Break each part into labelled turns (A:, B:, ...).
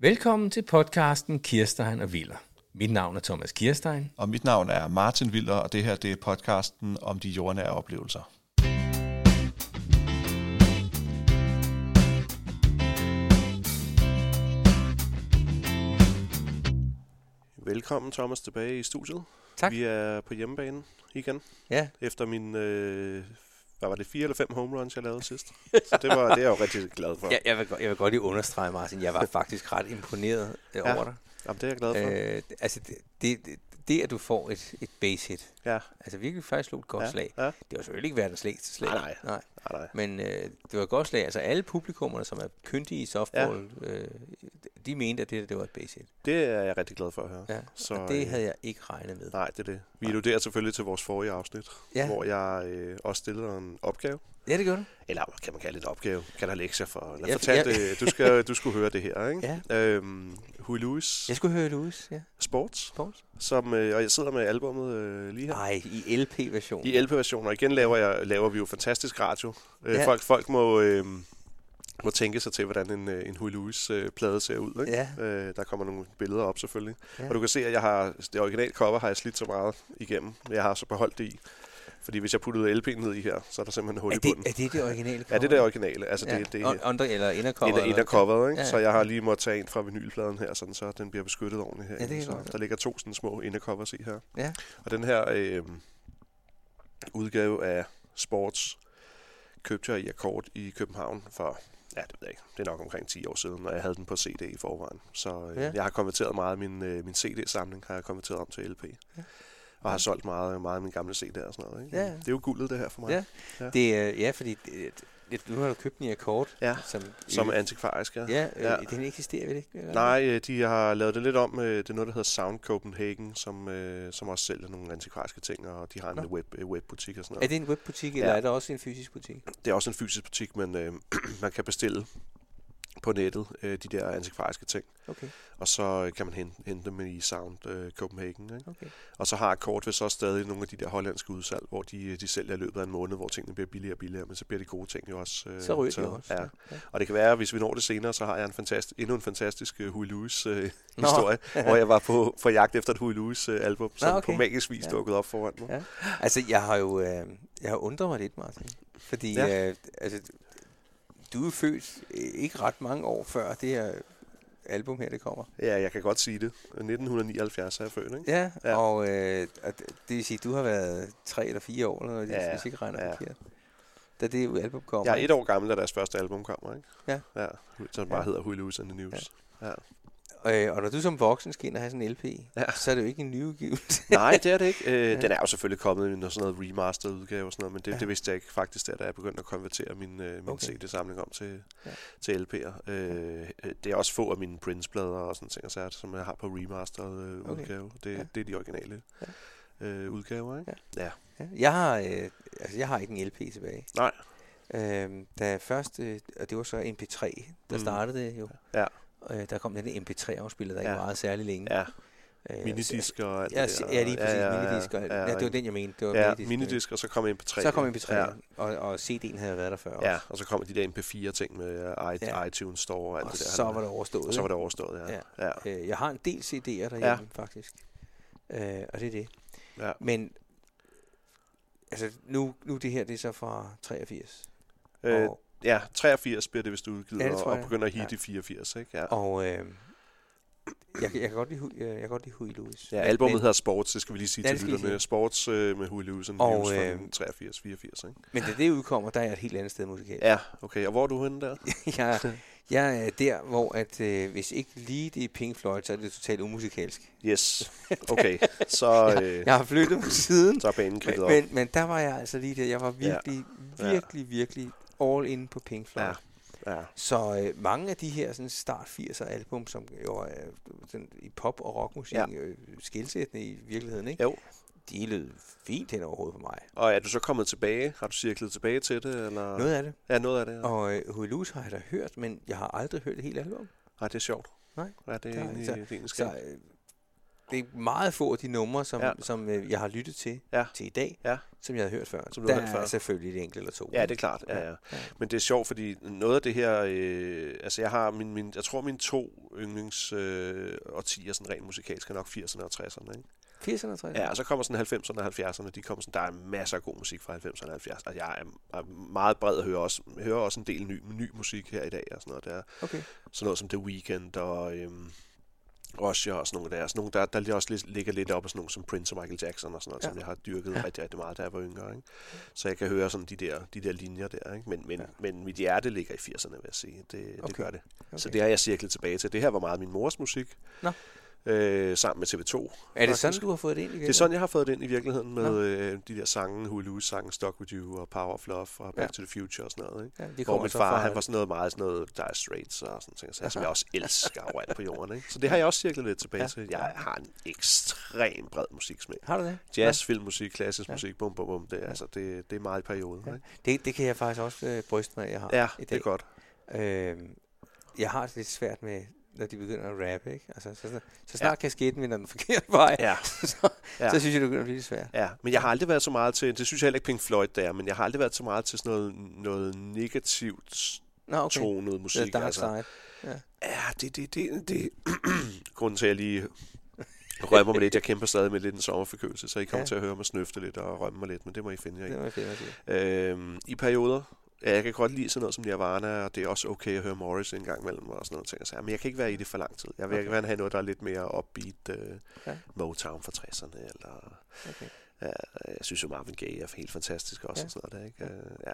A: Velkommen til podcasten Kirstein og Viller. Mit navn er Thomas Kirstein.
B: Og mit navn er Martin Viller, og det her det er podcasten om de jordnære oplevelser.
C: Velkommen Thomas tilbage i studiet.
A: Tak.
C: Vi er på hjemmebane igen,
A: Ja,
C: efter min, øh, hvad var det, fire eller fem home runs, jeg lavede sidst. Så det, var, det er jeg jo rigtig glad for.
A: jeg, jeg, vil, godt- jeg vil godt lige understrege, Martin, jeg var faktisk ret imponeret øh,
C: Ja.
A: over dig.
C: Jamen, det er jeg glad for. Øh.
A: Øh, altså, det, det, det, at du får et, et base hit,
C: Ja,
A: altså virkelig faktisk slog et godt
C: ja,
A: slag.
C: ja.
A: Det var selvfølgelig ikke verdens længste slag.
C: Nej, nej.
A: nej.
C: Nej, nej.
A: Men øh, det var et godt slag. Altså alle publikummerne, som er kyndige i softball, ja. øh, de mente, at det, der, det var et base hit.
C: Det er jeg rigtig glad for at høre.
A: Ja.
C: Så,
A: og det
C: øh,
A: havde jeg ikke regnet med.
C: Nej, det er det. Vi alluderer selvfølgelig til vores forrige afsnit,
A: Ja.
C: ja. hvor jeg øh, også stillede en opgave.
A: Ja, det gjorde du.
C: Eller hvad kan man kalde det en opgave? Kan der lektier for? Eller
A: Ja,
C: ja,
A: ja.
C: fortalte, ja. du, skal, du skulle høre det her, ikke?
A: Ja.
C: Øhm, Huey Lewis
A: Jeg skulle høre Louis, ja.
C: Sports,
A: Sports.
C: som, øh, og jeg sidder med albummet øh, lige her.
A: Nej, i LP-version.
C: I LP-versioner. Igen laver, jeg, laver vi jo fantastisk radio. Øh,
A: Ja.
C: folk, folk må, øh, må tænke sig til, hvordan en, øh, en Huey Lewis-plade ser ud. Ikke?
A: Ja.
C: Øh, der kommer nogle billeder op selvfølgelig.
A: Ja.
C: Ja. Og du kan se, at jeg har, det originale cover har jeg slidt så meget igennem. men Jeg har så beholdt det i. Fordi hvis jeg puttede LP'en ned i her, så er der simpelthen hul
A: Er
C: i bunden.
A: det, er det det originale
C: Ja, det er det originale. Altså, ja. det, det,
A: Og- Andre, eller indercover.
C: en, en
A: eller-
C: af coveret,
A: Ja,
C: ikke? Ja.
A: ja.
C: Så jeg har lige måttet tage en fra vinylpladen her, sådan, så den bliver beskyttet ordentligt her.
A: Ja, det kan jeg godt
C: så
A: se.
C: der ligger to sådan små indercovers i her.
A: Ja.
C: Og den her øh, udgave af Sports købte jeg i Akkord i København for, ja, det ved jeg ikke, det er nok omkring 10 år siden, og jeg havde den på CD i forvejen. Så øh,
A: Ja.
C: ja. jeg har konverteret meget af min, øh, min CD-samling, har jeg konverteret om til LP.
A: Ja.
C: Ja. Og har solgt meget, meget af mine gamle CD'er og sådan noget. Ikke?
A: Ja.
C: Det er jo guldet, det her for mig.
A: Ja.
C: Ja.
A: Det, øh, ja, fordi det, det, nu har du købt en akkord.
C: Ja,
A: Som,
C: Som er
A: øh,
C: antikvarisk, ja.
A: Ja, øh, ja,
C: ja.
A: den eksisterer vel ikke? Eller?
C: Nej, øh, de har lavet det lidt om. øh, Det er noget, der hedder Sound Copenhagen, som, øh, som også sælger nogle antikvariske ting, og de har en
A: Nå.
C: web, øh, webbutik og sådan
A: Er
C: noget.
A: det en webbutik, eller
C: Ja.
A: er det også en fysisk butik?
C: Det er også en fysisk butik, men øh, man kan bestille på nettet øh, de der antikvariske ting,
A: Okay,
C: og så øh, kan man hente, hente dem i Sound øh, Copenhagen. Ikke?
A: okay.
C: Og så har Akkord vist også stadig nogle af de der hollandske udsalg, hvor de, øh, de sælger i løbet af en måned, hvor tingene bliver billigere og billigere, men så bliver de gode ting jo også. Øh,
A: Så ryger de
C: taget.
A: også.
C: Ja.
A: ja.
C: Og det kan være, at hvis vi når det senere, så har jeg en fantast- endnu en fantastisk uh, Huey Lewis uh,
A: Nå.
C: historie, hvor jeg var på, på jagt efter et Huey Lewis uh, album, som
A: okay.
C: okay. på magisk vis
A: Ja.
C: ja. dukkede op foran mig.
A: Ja.
C: Ja.
A: Altså, jeg har jo øh, jeg har undret mig lidt, Martin. Fordi ja.
C: Ja.
A: øh, altså, du er jo født øh, ikke ret mange år før det her album her, det kommer.
C: ja, jeg kan godt sige det. 1979 er jeg født, ikke?
A: Ja, ja.
C: Ja.
A: og øh, og det det vil sige, at du har været tre eller fire år, eller noget,
C: Ja,
A: ja. hvis jeg ikke regner ja.
C: ja.
A: forkert. Da det jo album kommer.
C: Jeg er et år gammel, da deres første album kommer, ikke?
A: Ja.
C: ja. Som bare
A: Ja.
C: ja. hedder Huey Lewis and the News. Ja. Ja.
A: Øh, og når du som voksen skal ind og have sådan en LP, ja.
C: Ja.
A: så er det jo ikke en nyudgivelse.
C: Nej, det er det ikke. Øh,
A: Ja.
C: Den er jo selvfølgelig kommet i noget sådan noget remastered udgave og sådan noget, men det,
A: Ja.
C: ja. det vidste jeg ikke faktisk, der, da jeg begyndte at konvertere min, øh, min
A: Okay.
C: okay. CD-samling om til,
A: Ja.
C: ja. til LP'er. Øh, øh, det er også få af mine Prince-plader og sådan ting, og særligt, som jeg har på remastered øh,
A: Okay.
C: udgave. Det,
A: Ja.
C: ja. det er de originale øh, udgaver, ikke?
A: Ja, jeg, har, øh, altså, jeg har ikke en LP tilbage.
C: Nej.
A: Øh, da først, øh, og det var så MP3, der mm.
C: Mm.
A: startede det jo.
C: Ja.
A: Øh, der kom den MP3-afspiller, der ikke
C: ja.
A: varede særlig længe.
C: Ja,
A: Øh,
C: minidisk og alt
A: Ja,
C: det
A: s-
C: der.
A: ja, lige præcis, ja, ja, minidisk. og- Ja, det var den, jeg mente. Det var
C: Ja,
A: minidisk. øh.
C: minidisk, og så kom MP3.
A: Så kom MP3,
C: Ja.
A: ja. og, og CD'en havde været der før
C: Ja,
A: også.
C: og så kom de der MP4-ting med øh, i-
A: Ja.
C: iTunes Store og alt
A: Og
C: det der.
A: så var det overstået.
C: og så var
A: ikke?
C: det overstået, ja.
A: Ja.
C: ja. ja.
A: Øh, jeg har en del CD'er derhjemme, ja. faktisk. Øh, og det er det.
C: ja.
A: Men altså, nu, nu det her, det er så fra 83.
C: Øh,
A: og,
C: Ja, 83 bliver det, hvis du udgiver,
A: Ja,
C: ja,
A: det tror
C: og
A: jeg.
C: begynder at hitte
A: Ja.
C: ja. i 84, ikke? Ja.
A: og øh, jeg, kan- jeg, kan godt lide, Hu- øh, jeg kan godt lide Huey Lewis.
C: Ja,
A: Men-
C: albumet
A: men,
C: hedder Sports, det skal vi lige sige
A: Ja, det
C: til
A: skal vi
C: lytterne.
A: sige.
C: Sports øh, med Huey Lewis and
A: Og,
C: News fra
A: øh,
C: 83, 84, ikke?
A: Men da det udkommer, der er jeg et helt andet sted musikalt.
C: Ja, okay. Og hvor er du henne der?
A: jeg, jeg er der, hvor at, øh, hvis ikke lige det er Pink Floyd, så er det totalt umusikalsk.
C: Yes. Okay, så, øh,
A: Jeg har flyttet mig siden,
C: så er banen kridtet op.
A: men, men der var jeg altså lige der. Jeg var
C: Ja.
A: virkelig,
C: Ja.
A: virkelig, virkelig all in på Pink Floyd.
C: Ja. Ja,
A: Så øh, mange af de her sådan start 80'er album, som jo er sådan, i pop og rockmusik ja.
C: Ja.
A: øh, skilsættende i virkeligheden, ikke?
C: jo.
A: de lød fint hen overhovedet for mig.
C: Og er du så kommet tilbage? Har du cirklet tilbage til det? Eller?
A: Noget af det.
C: Ja, noget af det. Ja.
A: Og øh, Huey Lewis har jeg da hørt, men jeg har aldrig hørt et helt album.
C: Ej, det er sjovt.
A: Nej,
C: Ja, det
A: der-
C: er egentlig,
A: så-
C: det er egentlig
A: Så
C: skægt.
A: øh, det er meget få af de numre, som,
C: Ja.
A: ja. som øh, jeg har lyttet til
C: Ja.
A: til i dag,
C: Ja.
A: som jeg havde hørt før.
C: Som du
A: der
C: havde hørt før.
A: er selvfølgelig et enkelt eller to.
C: Ja, det er klart. Ja, ja. Men det er sjovt, fordi noget af det her... Øh, altså, jeg har min, min, jeg tror, mine to yndlings øh, årtier, sådan rent musikalsk, er nok 80'erne og 60'erne. Ikke?
A: 80'erne, tror jeg.
C: Ja, og så kommer sådan 90'erne og 70'erne. De kommer sådan, der er masser af god musik fra 90'erne og 70'erne. Og jeg er, er meget bred og hører også, hører også en del ny, ny musik her i dag. Og sådan noget. Der er
A: Okay.
C: sådan noget som The Weeknd og... Øhm, Russia og sådan nogle der. Sådan nogle, der, der lige også lidt- ligger lidt op af sådan nogle som Prince og Michael Jackson og sådan noget, ja.
A: Ja.
C: som jeg har dyrket ja. rigtig, rigtig meget, da jeg var yngre. Ikke? Så jeg kan høre sådan de der, de der linjer der. Ikke? Men, men, ja.
A: Ja.
C: men mit hjerte ligger i 80'erne, vil jeg sige. Det, okay. det
A: Okay.
C: gør det. Okay.
A: okay.
C: Så det har jeg cirklet tilbage til. Det her var meget min mors musik.
A: Nå.
C: Øh, sammen med TV2.
A: er det
C: faktisk.
A: sådan, du har fået det ind igen?
C: Det er sådan, jeg har fået det ind i virkeligheden med
A: Nå.
C: øh, de der sange, Huey Lewis sange, Stuck With You og Power of Love og Back ja. to the Future og sådan noget. Ikke?
A: Ja, det
C: Hvor
A: kommer
C: min
A: så
C: far,
A: fra,
C: han var sådan noget meget sådan noget Dire Straits og sådan ting, så, som jeg også elsker overalt på jorden. Ikke? Så det har jeg også cirklet lidt tilbage ja.
A: Ja.
C: til. Jeg har en ekstrem bred musiksmag.
A: Har du det?
C: Jazz, filmmusik, klassisk ja.
A: Ja.
C: musik, bum bum bum, det, er altså, det, det er meget i perioden. Ja,
A: Ja.
C: ikke?
A: Nå, Det, det kan jeg faktisk også øh, bryste mig, af, jeg har
C: ja
A: i
C: det er
A: dag.
C: godt.
A: Øhm, jeg har det lidt svært med, når de begynder at rappe, ikke? Altså, så, så, så snart ja. kasketten vender den forkerte vej,
C: Ja.
A: så,
C: Ja.
A: ja. så synes jeg, det begynder at blive lidt svært.
C: Ja, men jeg har aldrig været så meget til, det synes jeg heller ikke Pink Floyd der, men jeg har aldrig været så meget til sådan noget, noget negativt
A: Nå, okay.
C: tonet
A: Det er
C: musik. altså.
A: dark side.
C: Ja, det det, det, det. grunden til, at jeg lige rømmer mig lidt. Jeg kæmper stadig med lidt en sommerforkølelse, så I kommer ja.
A: Ja.
C: til at høre mig snøfte lidt og rømme mig lidt, men det må I finde jer i.
A: Det var jeg fedt at sige.
C: Øhm, I perioder. Ja, jeg kan godt lide sådan noget som Nirvana, og det er også okay at høre Morris en gang imellem og sådan noget ting. Så, ja, men jeg kan ikke være i det for lang tid. Jeg vil
A: Okay.
C: okay. gerne have noget, der er lidt mere upbeat øh, ja.
A: Ja.
C: Motown fra 60'erne. Eller,
A: Okay.
C: ja, jeg synes jo Marvin Gaye er helt fantastisk også.
A: Ja.
C: Ja. Og sådan noget der, ikke? Øh, Ja.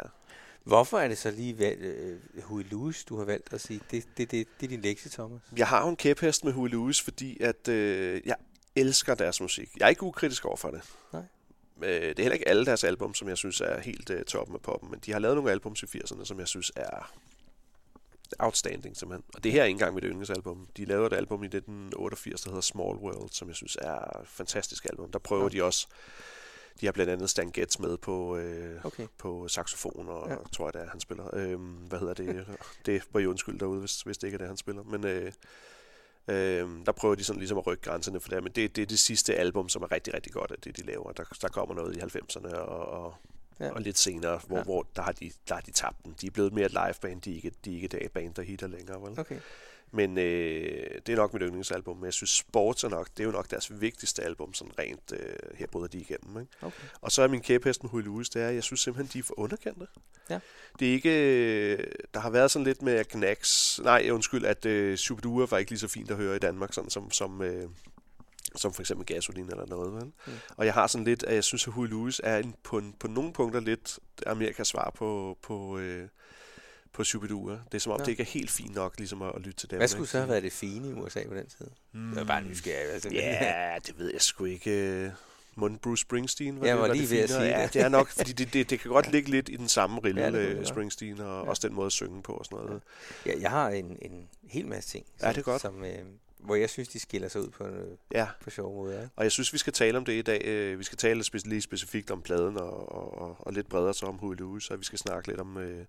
A: Hvorfor er det så lige valgt, øh, Huey Lewis, du har valgt at sige, det, det, det, det er din lektie, Thomas?
C: Jeg har jo en kæphest med Huey Lewis, fordi at, øh, jeg elsker deres musik. Jeg er ikke ukritisk over for det.
A: Nej.
C: Øh, det er heller ikke alle deres album, som jeg synes er helt øh, toppen af poppen, men de har lavet nogle albums i 80'erne, som jeg synes er outstanding simpelthen. Og det her er ikke engang mit yndlingsalbum. De lavede et album i 1988, der hedder Small World, som jeg synes er et fantastisk album. Der prøver ja. de også, de har blandt andet Stan Getz med på, øh,
A: Okay.
C: på saxofon, og ja.
A: Ja.
C: tror jeg, det er, han spiller. Øhm, hvad hedder det? det var jo undskyld derude, hvis, hvis det ikke er det, han spiller. Men øh, øh, der prøver de sådan ligesom at rykke grænserne for det. Men det, det er det sidste album, som er rigtig, rigtig godt af det, de laver. Der, der kommer noget i 90'erne og, og, ja.
A: Ja.
C: og lidt senere, hvor, ja.
A: Ja.
C: hvor der, har de, der har de tabt den. De er blevet mere et liveband, de er ikke, de er ikke det band, der hitter længere. Vel?
A: Okay.
C: Men øh, det er nok mit yndlingsalbum. Men jeg synes, Sports er nok, det er jo nok deres vigtigste album, sådan rent øh, her bryder de igennem. Ikke?
A: okay.
C: Og så er min kæphest med Huey Lewis, det er, at jeg synes simpelthen, de er for underkendte.
A: Ja.
C: Det er ikke... øh, Der har været sådan lidt med at Knacks... Nej, undskyld, at øh, Superdure var ikke lige så fint at høre i Danmark, sådan som, som, øh, som for eksempel Gasolin eller noget. Vel? Mm.
A: Mm.
C: Og jeg har sådan lidt, at jeg synes, at Huey Lewis er en, på, en, på nogle punkter lidt Amerikas svar på... på øh, på Superdure. Det er som om,
A: Nå.
C: det ikke er helt fint nok ligesom at, at lytte til dem.
A: Hvad skulle
C: ikke?
A: så have været det fine i USA på den tid? Mm. Det var bare nysgerrig. Altså.
C: Ja, det ved jeg sgu ikke. Mon Bruce Springsteen var
A: Jeg
C: det,
A: var
C: var
A: lige
C: det
A: ved at
C: finere?
A: sige
C: ja,
A: det.
C: det er nok, fordi det, det, det kan godt ligge lidt i den samme rille,
A: Ja,
C: ja,
A: det kunne det godt.
C: Springsteen, og ja.
A: Ja.
C: også den måde at synge på og sådan noget.
A: Jeg, jeg har en, en hel masse ting,
C: Ja, det er godt.
A: som, øh, hvor jeg synes, de skiller sig ud på, øh,
C: Ja,
A: på sjove måder. ikke?
C: og jeg synes, vi skal tale om det i dag. Øh, Vi skal tale spe- lige specifikt om pladen, og, og, og, og lidt bredere så om Huey Lewis, og vi skal snakke lidt om øh,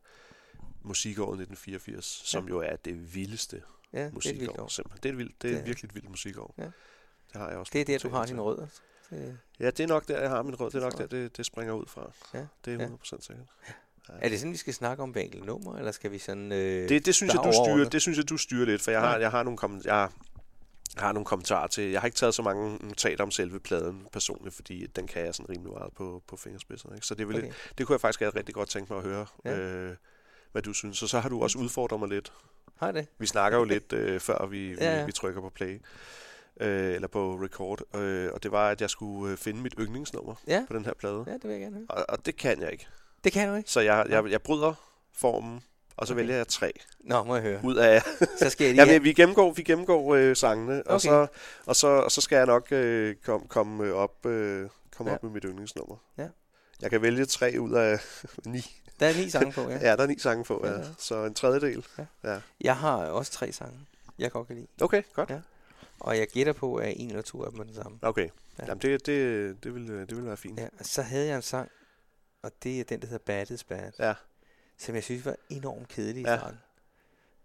C: musikåret 1984, som ja.
A: Ja.
C: jo er det vildeste
A: Ja, det er et vildt
C: musikår.
A: år.
C: simpelthen. Det er, et vildt, det er
A: Det er-
C: virkelig et vildt musikår.
A: Ja.
C: Det har jeg også.
A: Det er
C: lidt
A: der, du
C: noteret
A: har
C: til.
A: dine rødder. Det-
C: Ja, det er nok der, jeg har min rød. Det er nok
A: Tror
C: der,
A: jeg.
C: det, det springer ud fra.
A: Ja,
C: Det er
A: ja.
C: 100% sikkert.
A: Er det sådan, vi skal snakke om hver enkelt nummer, eller skal vi sådan... Øh,
C: det, det synes
A: der
C: jeg,
A: er
C: du styrer,
A: overordnet.
C: det synes jeg, du styrer lidt, for jeg har,
A: Ja.
C: jeg har nogle kom, jeg har nogle kommentarer til. Jeg har ikke taget så mange mm, notater om selve pladen personligt, fordi den kan jeg sådan rimelig meget på, på fingerspidserne. Ikke? Så det, vil, okay.
A: okay.
C: det kunne jeg faktisk have rigtig godt tænke mig at høre, ja.
A: Ja.
C: øh, hvad du synes. Og så har du også udfordret mig lidt.
A: Har jeg det?
C: Vi snakker jo lidt, øh, før vi, ja,
A: Ja,
C: ja.
A: ja.
C: vi trykker på play, øh, eller på record. Øh, og det var, at jeg skulle øh, finde mit yndlingsnummer
A: Ja.
C: på den her plade. Ja.
A: Ja, det vil jeg gerne høre.
C: Og, og det kan jeg ikke.
A: Det kan du ikke?
C: Så jeg, jeg, jeg bryder formen, og så okay.
A: Okay.
C: vælger jeg tre
A: Nå, må jeg høre.
C: ud af
A: Så skal jeg
C: Ja,
A: lige...
C: men vi gennemgår, vi gennemgår øh, sangene, okay. og,
A: Okay.
C: så, og, så, og så skal jeg nok øh, komme kom øh, op, øh, kom ja.
A: Ja.
C: op med mit yndlingsnummer.
A: Ja.
C: Jeg kan vælge tre ud af ni.
A: Der er ni sange på, ja.
C: Ja, ja der er ni sange på, ja.
A: Ja,
C: Ja.
A: ja.
C: så en tredjedel.
A: Jeg har også tre sange, jeg godt kan lide.
C: Okay, godt. Ja.
A: Ja. Og jeg gætter på, at en eller to af dem er den samme.
C: Okay, ja.
A: Ja.
C: Jamen, det, det, det, vil, øh, det vil være fint. Ja.
A: Ja, og så havde jeg en sang, og det er den, der hedder Bad is Bad,
C: Ja.
A: som jeg synes var enormt kedelig i
C: Ja.
A: starten.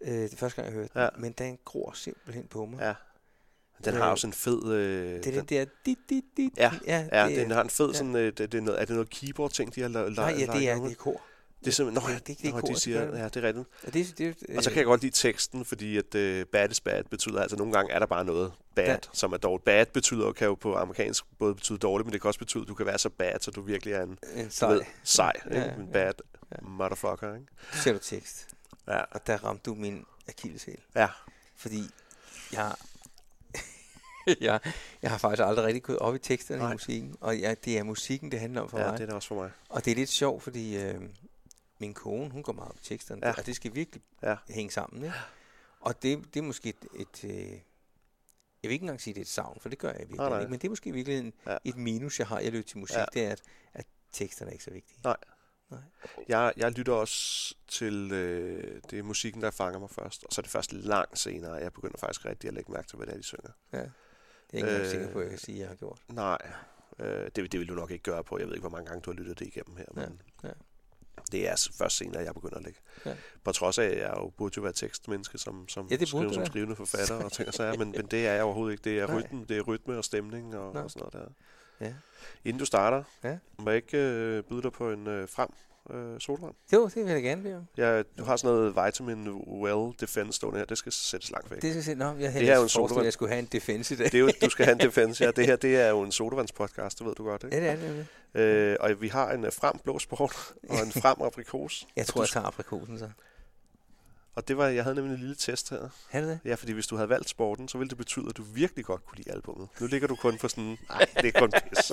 A: Øh, det er første gang, jeg hørte
C: Ja.
A: den, men den gror simpelthen på mig.
C: Ja. Den har også en fed... Øh,
A: Det er den der... Dit, dit, dit.
C: Ja,
A: ja,
C: Ja, det, den har en fed
A: ja.
C: sådan... Øh, det, det er, noget, er det noget keyboard-ting, de har lavet?
A: Nej, ja, det er, det er kor.
C: Det er simpelthen... Nå,
A: det-
C: ja,
A: det- det er
C: nå,
A: kor,
C: de
A: det
C: siger...
A: gør det.
C: Ja, det er rigtigt.
A: Og, det, det,
C: Og så kan jeg godt lide teksten, fordi at øh, bad is bad betyder, altså nogle gange er der bare noget bad,
A: Ja.
C: som er dårligt. Bad betyder jo, kan jo på amerikansk både betyde dårligt, men det kan også betyde, at du kan være så bad, så du virkelig er en
A: jeg...
C: du
A: Sej,
C: ved, sej,
A: Ja,
C: ikke?
A: ja,
C: en bad
A: ja.
C: motherfucker. Ikke?
A: ser du tekst.
C: Ja,
A: Og der ramte du min akilleshæl.
C: ja.
A: Fordi jeg, jeg, jeg har faktisk aldrig rigtig gået op i teksterne Nej.
C: Nej.
A: i musikken. Og jeg, det er musikken, det handler om for
C: ja
A: mig.
C: det er det også for mig.
A: Og det er lidt sjovt, fordi øh, min kone, hun går meget op i teksterne, ja.
C: Ja.
A: og det skal virkelig ja.
C: Ja.
A: hænge sammen. Ikke? Og det, det er måske et... et øh, jeg vil ikke engang sige, at det er et savn, for det gør jeg virkelig
C: Nej, nej.
A: ikke. Men det er måske virkelig ja.
C: Ja.
A: et minus, jeg har, jeg lytter til musik, ja.
C: Ja.
A: det er, at, at teksterne er ikke så vigtige.
C: Nej.
A: Nej.
C: Jeg, jeg lytter også til øh, det er musikken, der fanger mig først, og så er det først langt senere, jeg begynder faktisk rigtig at lægge mærke til, hvad det er, de synger.
A: Det er jeg ikke øh,
C: Øh.
A: sikker på, at jeg kan sige, at jeg har gjort.
C: Nej, øh, det, vil- det vil du nok ikke gøre på. Jeg ved ikke, hvor mange gange du har lyttet det igennem her.
A: Ja,
C: Men
A: ja.
C: Det er s- først senere, jeg begynder at lægge.
A: Ja.
C: På trods af, at jeg jo burde jo være tekstmenneske som, som,
A: Ja, det burde
C: skriver,
A: du
C: som
A: være.
C: skrivende forfatter og ting og sager, men, men det er jeg overhovedet ikke. Det er,
A: Nej.
C: rytme, det er rytme og stemning og,
A: Nå.
C: og sådan noget der.
A: Ja.
C: Inden du starter,
A: Ja.
C: må jeg ikke øh, byde dig på en øh, frem øh, solvand?
A: Jo, det vil jeg gerne blive.
C: Jeg, du har sådan noget vitamin well defense stående her. Det skal sættes langt væk.
A: Det skal jeg sige, nå, jeg havde
C: Det her er jo
A: ellers
C: en sodavand.
A: forestillet, at jeg skulle have en defense i dag.
C: Det er jo, du skal have en defense her. Det her det er jo en sodavandspodcast, det ved du godt, ikke?
A: Ja, det er det. nemlig.
C: Øh, og vi har en øh, frem blå sport og en frem aprikos.
A: Jeg tror,
C: du
A: jeg tager aprikosen så.
C: Og det var, jeg havde nemlig en lille test her.
A: Er det det?
C: Ja, fordi hvis du havde valgt sporten, så ville det betyde, at du virkelig godt kunne lide albummet. Nu ligger du kun for sådan, nej, det er kun pis.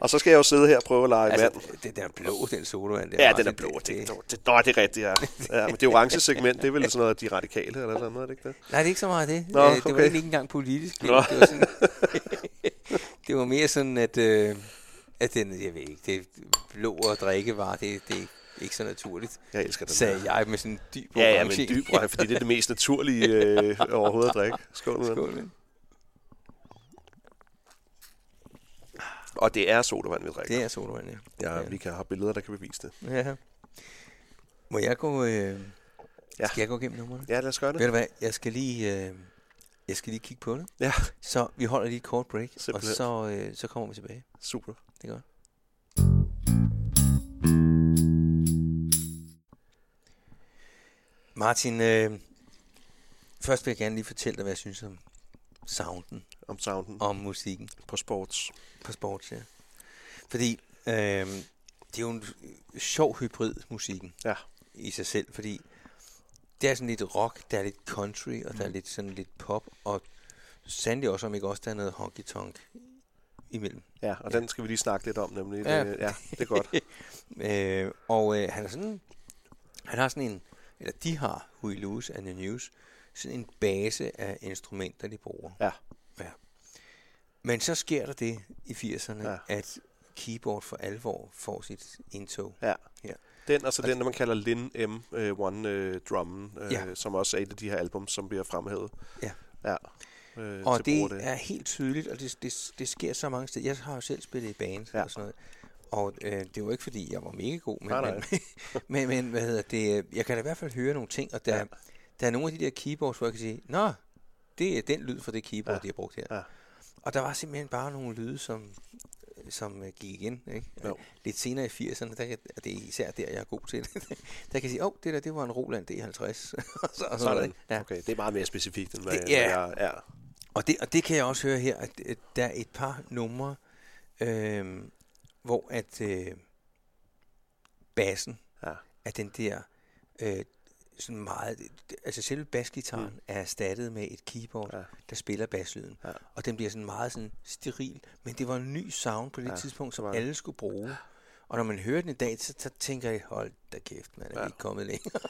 C: og så skal jeg jo sidde her og prøve at lege altså, mand.
A: Altså, det, den er blå, den sodavand. der. Altså,
C: Ja,
A: Martin,
C: den er blå. Det, det, det, det, nå, det er rigtigt, ja. ja. Men det orange segment, det er vel sådan noget, de radikale eller noget, er det ikke det?
A: Nej, det er ikke så meget det.
C: Nå,
A: Nå, Det var
C: okay.
A: egentlig ikke engang politisk.
C: Nå.
A: Nå. Det, var sådan, det var mere sådan, at, øh, at den, jeg ved ikke, det blå og drikkevarer, det, det er ikke så naturligt,
C: Jeg elsker den der.
A: sagde jeg med sådan en dyb
C: Ja, ja, men
A: orange.
C: dyb orange, fordi det er det mest naturlige øh, overhovedet at drikke. Skål med den.
A: Skål, mand.
C: Og det er sodavand, vi drikker.
A: Det er sodavand, ja.
C: Ja, vi kan have billeder, der kan bevise det.
A: ja. Må jeg gå... Øh,
C: Ja.
A: Skal jeg gå igennem nummerne?
C: Ja, lad os gøre det.
A: Ved du hvad, jeg skal lige... Øh, jeg skal lige kigge på det.
C: Ja.
A: Så vi holder lige et kort break,
C: Simpelthen.
A: og så, øh, så kommer vi tilbage.
C: Super.
A: Det er godt. Martin, øh, først vil jeg gerne lige fortælle dig, hvad jeg synes om sounden,
C: Om sounden
A: om musikken
C: på sports.
A: på sports. Ja. Fordi øh, det er jo en sjov hybrid, musikken
C: Ja.
A: i sig selv, fordi det er sådan lidt rock, der er lidt country, og der er
C: Mm.
A: lidt sådan lidt pop, og sandelig også, om ikke også der er noget honky-tonk imellem.
C: Ja, og den skal vi lige snakke lidt om, nemlig.
A: Ja.
C: Ja, det, ja, det er godt.
A: Øh, og øh, han er sådan, han har sådan en, eller de har, Huey Lewis and the News, sådan en base af instrumenter, de bruger.
C: Ja.
A: ja. Men så sker der det i 80'erne, ja.
C: Ja.
A: at keyboard for alvor får sit indtog.
C: Ja.
A: Ja.
C: Den, og så den, der man kalder Lin M. Øh, One øh, Drummen, øh,
A: Ja.
C: ja. som også er et af de her album, som bliver fremhævet.
A: Ja.
C: ja. Øh,
A: Og
C: til brug af
A: det, det er helt tydeligt, og det, det, det sker så mange steder. Jeg har jo selv spillet i band ja.
C: Ja.
A: og sådan noget. Og øh, det var ikke, fordi jeg var mega god, men,
C: Nej,
A: men, men, men hvad hedder det, øh, jeg kan da i hvert fald høre nogle ting, og der, ja.
C: Ja.
A: der er nogle af de der keyboards, hvor jeg kan sige, nå, det er den lyd fra det keyboard, ja.
C: Ja.
A: de har brugt her.
C: Ja.
A: Og der var simpelthen bare nogle lyde, som, som øh, gik igen. Ikke?
C: Jo.
A: Lidt senere i 80'erne, der, kan- og det er især der, jeg er god til det, der kan jeg sige, åh, oh, det der, det var en Roland D50. og så, og sådan, noget,
C: Sådan.
A: ikke?
C: Ja. Okay, det er meget mere specifikt, end hvad,
A: Det-
C: det, ja.
A: ja.
C: jeg er.
A: Og det, og det kan jeg også høre her, at, at der er et par numre, øh, hvor at øh, bassen
C: Ja.
A: er den der øh, sådan meget, altså selve basgitaren mm. er erstattet med et keyboard, ja.
C: Ja.
A: der spiller baslyden.
C: Ja.
A: Og den bliver sådan meget sådan steril, men det var en ny sound på det ja.
C: Ja,
A: tidspunkt, som
C: det var det.
A: alle skulle bruge. Og når man hører den i dag, så, så tænker jeg, hold da kæft, man er ja.
C: Ja.
A: ikke kommet længere.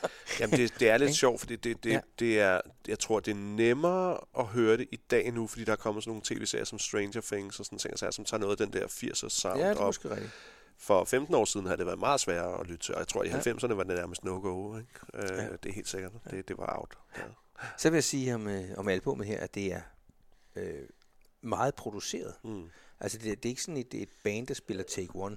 C: Jamen, det, det er lidt sjovt, fordi det, det,
A: Ja.
C: ja. det er, jeg tror, det er nemmere at høre det i dag nu, fordi der er kommet sådan nogle tv-serier som Stranger Things og sådan ting, og sager, som tager noget af den der 80'er sound
A: Ja, det er
C: op.
A: måske rigtigt.
C: For 15 år siden havde det været meget sværere at lytte til, og jeg tror, i
A: Ja.
C: 90'erne var det nærmest no-go. Ikke? Øh,
A: Ja.
C: ja. Det er helt sikkert. Det, det var out. Ja.
A: Så vil jeg sige om, øh, om albumet her, at det er øh, meget produceret.
C: Mm.
A: Altså, det, det er ikke sådan et, et band, der spiller Take One.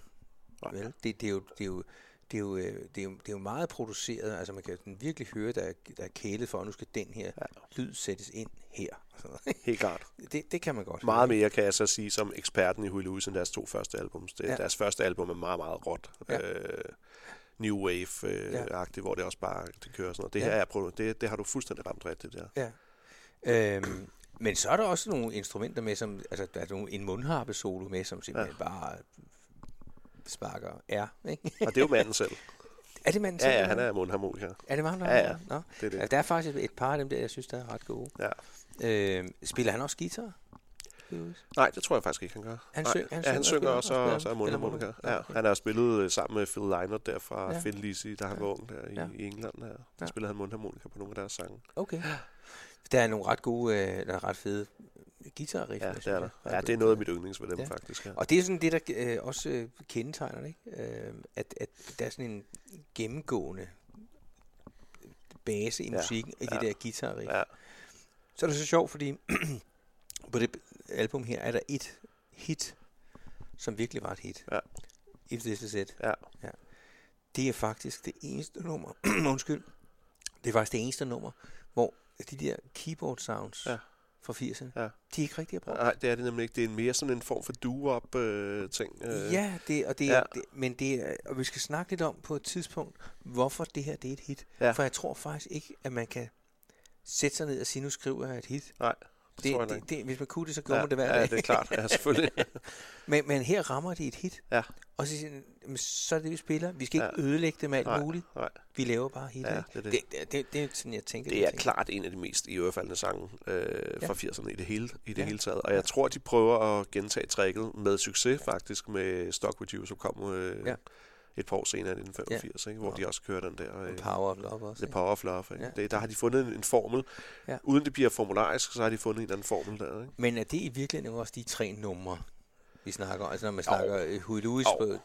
C: Nej.
A: Vel? Det, det, er jo, det er jo det er, jo, øh, det, er jo, det er jo meget produceret, altså man kan sådan virkelig høre, der er, der er kælet for, at nu skal den her ja. lyd sættes ind her. og sådan noget.
C: Helt klart.
A: Det, det kan man godt.
C: Meget mere kan jeg så sige som eksperten i Huey Lewis end deres to første album. Det,
A: Ja.
C: ja. Deres første album er meget, meget råt.
A: Ja.
C: Ja. Øh, New Wave-agtigt, ja. hvor det også bare det kører sådan noget. Det
A: Ja.
C: ja. her er, produ- det, det har du fuldstændig ramt rigtigt der.
A: Ja. Øhm, men så er der også nogle instrumenter med, som, altså der er nogle, en mundharpe solo med, som simpelthen ja. bare sparker R, ikke?
C: Og det er jo manden selv.
A: Er det manden selv,
C: Ja, ja
A: eller
C: han
A: hvad?
C: er mundharmoniker.
A: Er det manden? der
C: Ja,
A: har
C: ja.
A: den? Nå.
C: Det er det.
A: Altså, der er faktisk et, et par af dem der, jeg synes, der er ret gode.
C: Ja.
A: Øhm, spiller han også guitar? Lewis?
C: Nej, det tror jeg faktisk ikke, han gør.
A: Han
C: Nej.
A: syng- han
C: ja,
A: synger og
C: han synger
A: spiller-
C: også,
A: og
C: og,
A: spiller-
C: og så er
A: spiller
C: mundharmoniker.
A: mundharmonika.
C: Ja,
A: Okay.
C: han har jo spillet øh, sammen med Phil Lynott der fra
A: Ja.
C: ja. Thin Lizzy, da han var ung der i,
A: Ja.
C: ja. i England. Der.
A: Ja.
C: Ja. spillede han mundharmonika på nogle af deres sange.
A: Okay. Der er nogle ret gode, øh, eller ret fede guitar
C: Ja, det er der. Ja, det er noget af mit yndlings ved dem
A: Ja.
C: ja. faktisk. Ja.
A: Og det er sådan det, der øh, også øh, kendetegner det, ikke? Øh, at, at der er sådan en gennemgående base i
C: Ja,
A: musikken, i det
C: ja,
A: der guitar ja.
C: Ja.
A: Så er det så sjovt, fordi på det album her er der et hit, som virkelig var et hit.
C: Ja.
A: If This Is It.
C: Ja.
A: ja. Det er faktisk det eneste nummer, undskyld, det er faktisk det eneste nummer, hvor de der keyboard sounds ja.
C: Ja.
A: fra 80'erne,
C: Ja.
A: de er ikke rigtig at bruge.
C: Nej, det er det nemlig ikke. Det er mere sådan en form for do-up øh, ting. Øh.
A: Ja, det, og det, ja.
C: ja.
A: Det, men det er, og vi skal snakke lidt om på et tidspunkt, hvorfor det her det er et hit.
C: Ja.
A: For jeg tror faktisk ikke, at man kan sætte sig ned og sige, nu skriver jeg et hit.
C: Nej, det, det tror jeg
A: Det,
C: nok.
A: det, det, hvis man kunne det, så gjorde ja,
C: Ja,
A: man det hver
C: ja,
A: dag.
C: det er klart. Ja, selvfølgelig.
A: Men, men her rammer det et hit.
C: Ja.
A: Og så, siger den, "Jamen, så er det, vi spiller. Vi skal ikke
C: Ja.
A: ødelægge det med alt
C: Nej,
A: muligt.
C: nej.
A: Vi laver bare hit.
C: Ja,
A: ikke?
C: det er det.
A: Det, det, det, det er sådan, jeg tænker.
C: Det er
A: klart.
C: klart en af de mest iørefaldende sange øh,
A: Ja.
C: fra 80'erne i det, hele, i det
A: Ja.
C: ja. hele taget. Og jeg tror, de prøver at gentage tricket med succes faktisk med Stock With You, som kom øh,
A: Ja.
C: ja. et par år senere i 1985, ja. ikke? hvor
A: Nå.
C: de også kører den der... Øh,
A: Power of Love også.
C: The
A: Ikke?
C: Power of Love. Ikke?
A: Ja.
C: Ja. Det, der har de fundet en, en formel.
A: Ja.
C: Ja. Uden det bliver formularisk, så har de fundet en eller anden formel der. Ikke?
A: Men er det i virkeligheden også de tre numre, vi snakker om? Altså når man snakker oh. Huey Lewis,
C: Jo.
A: på,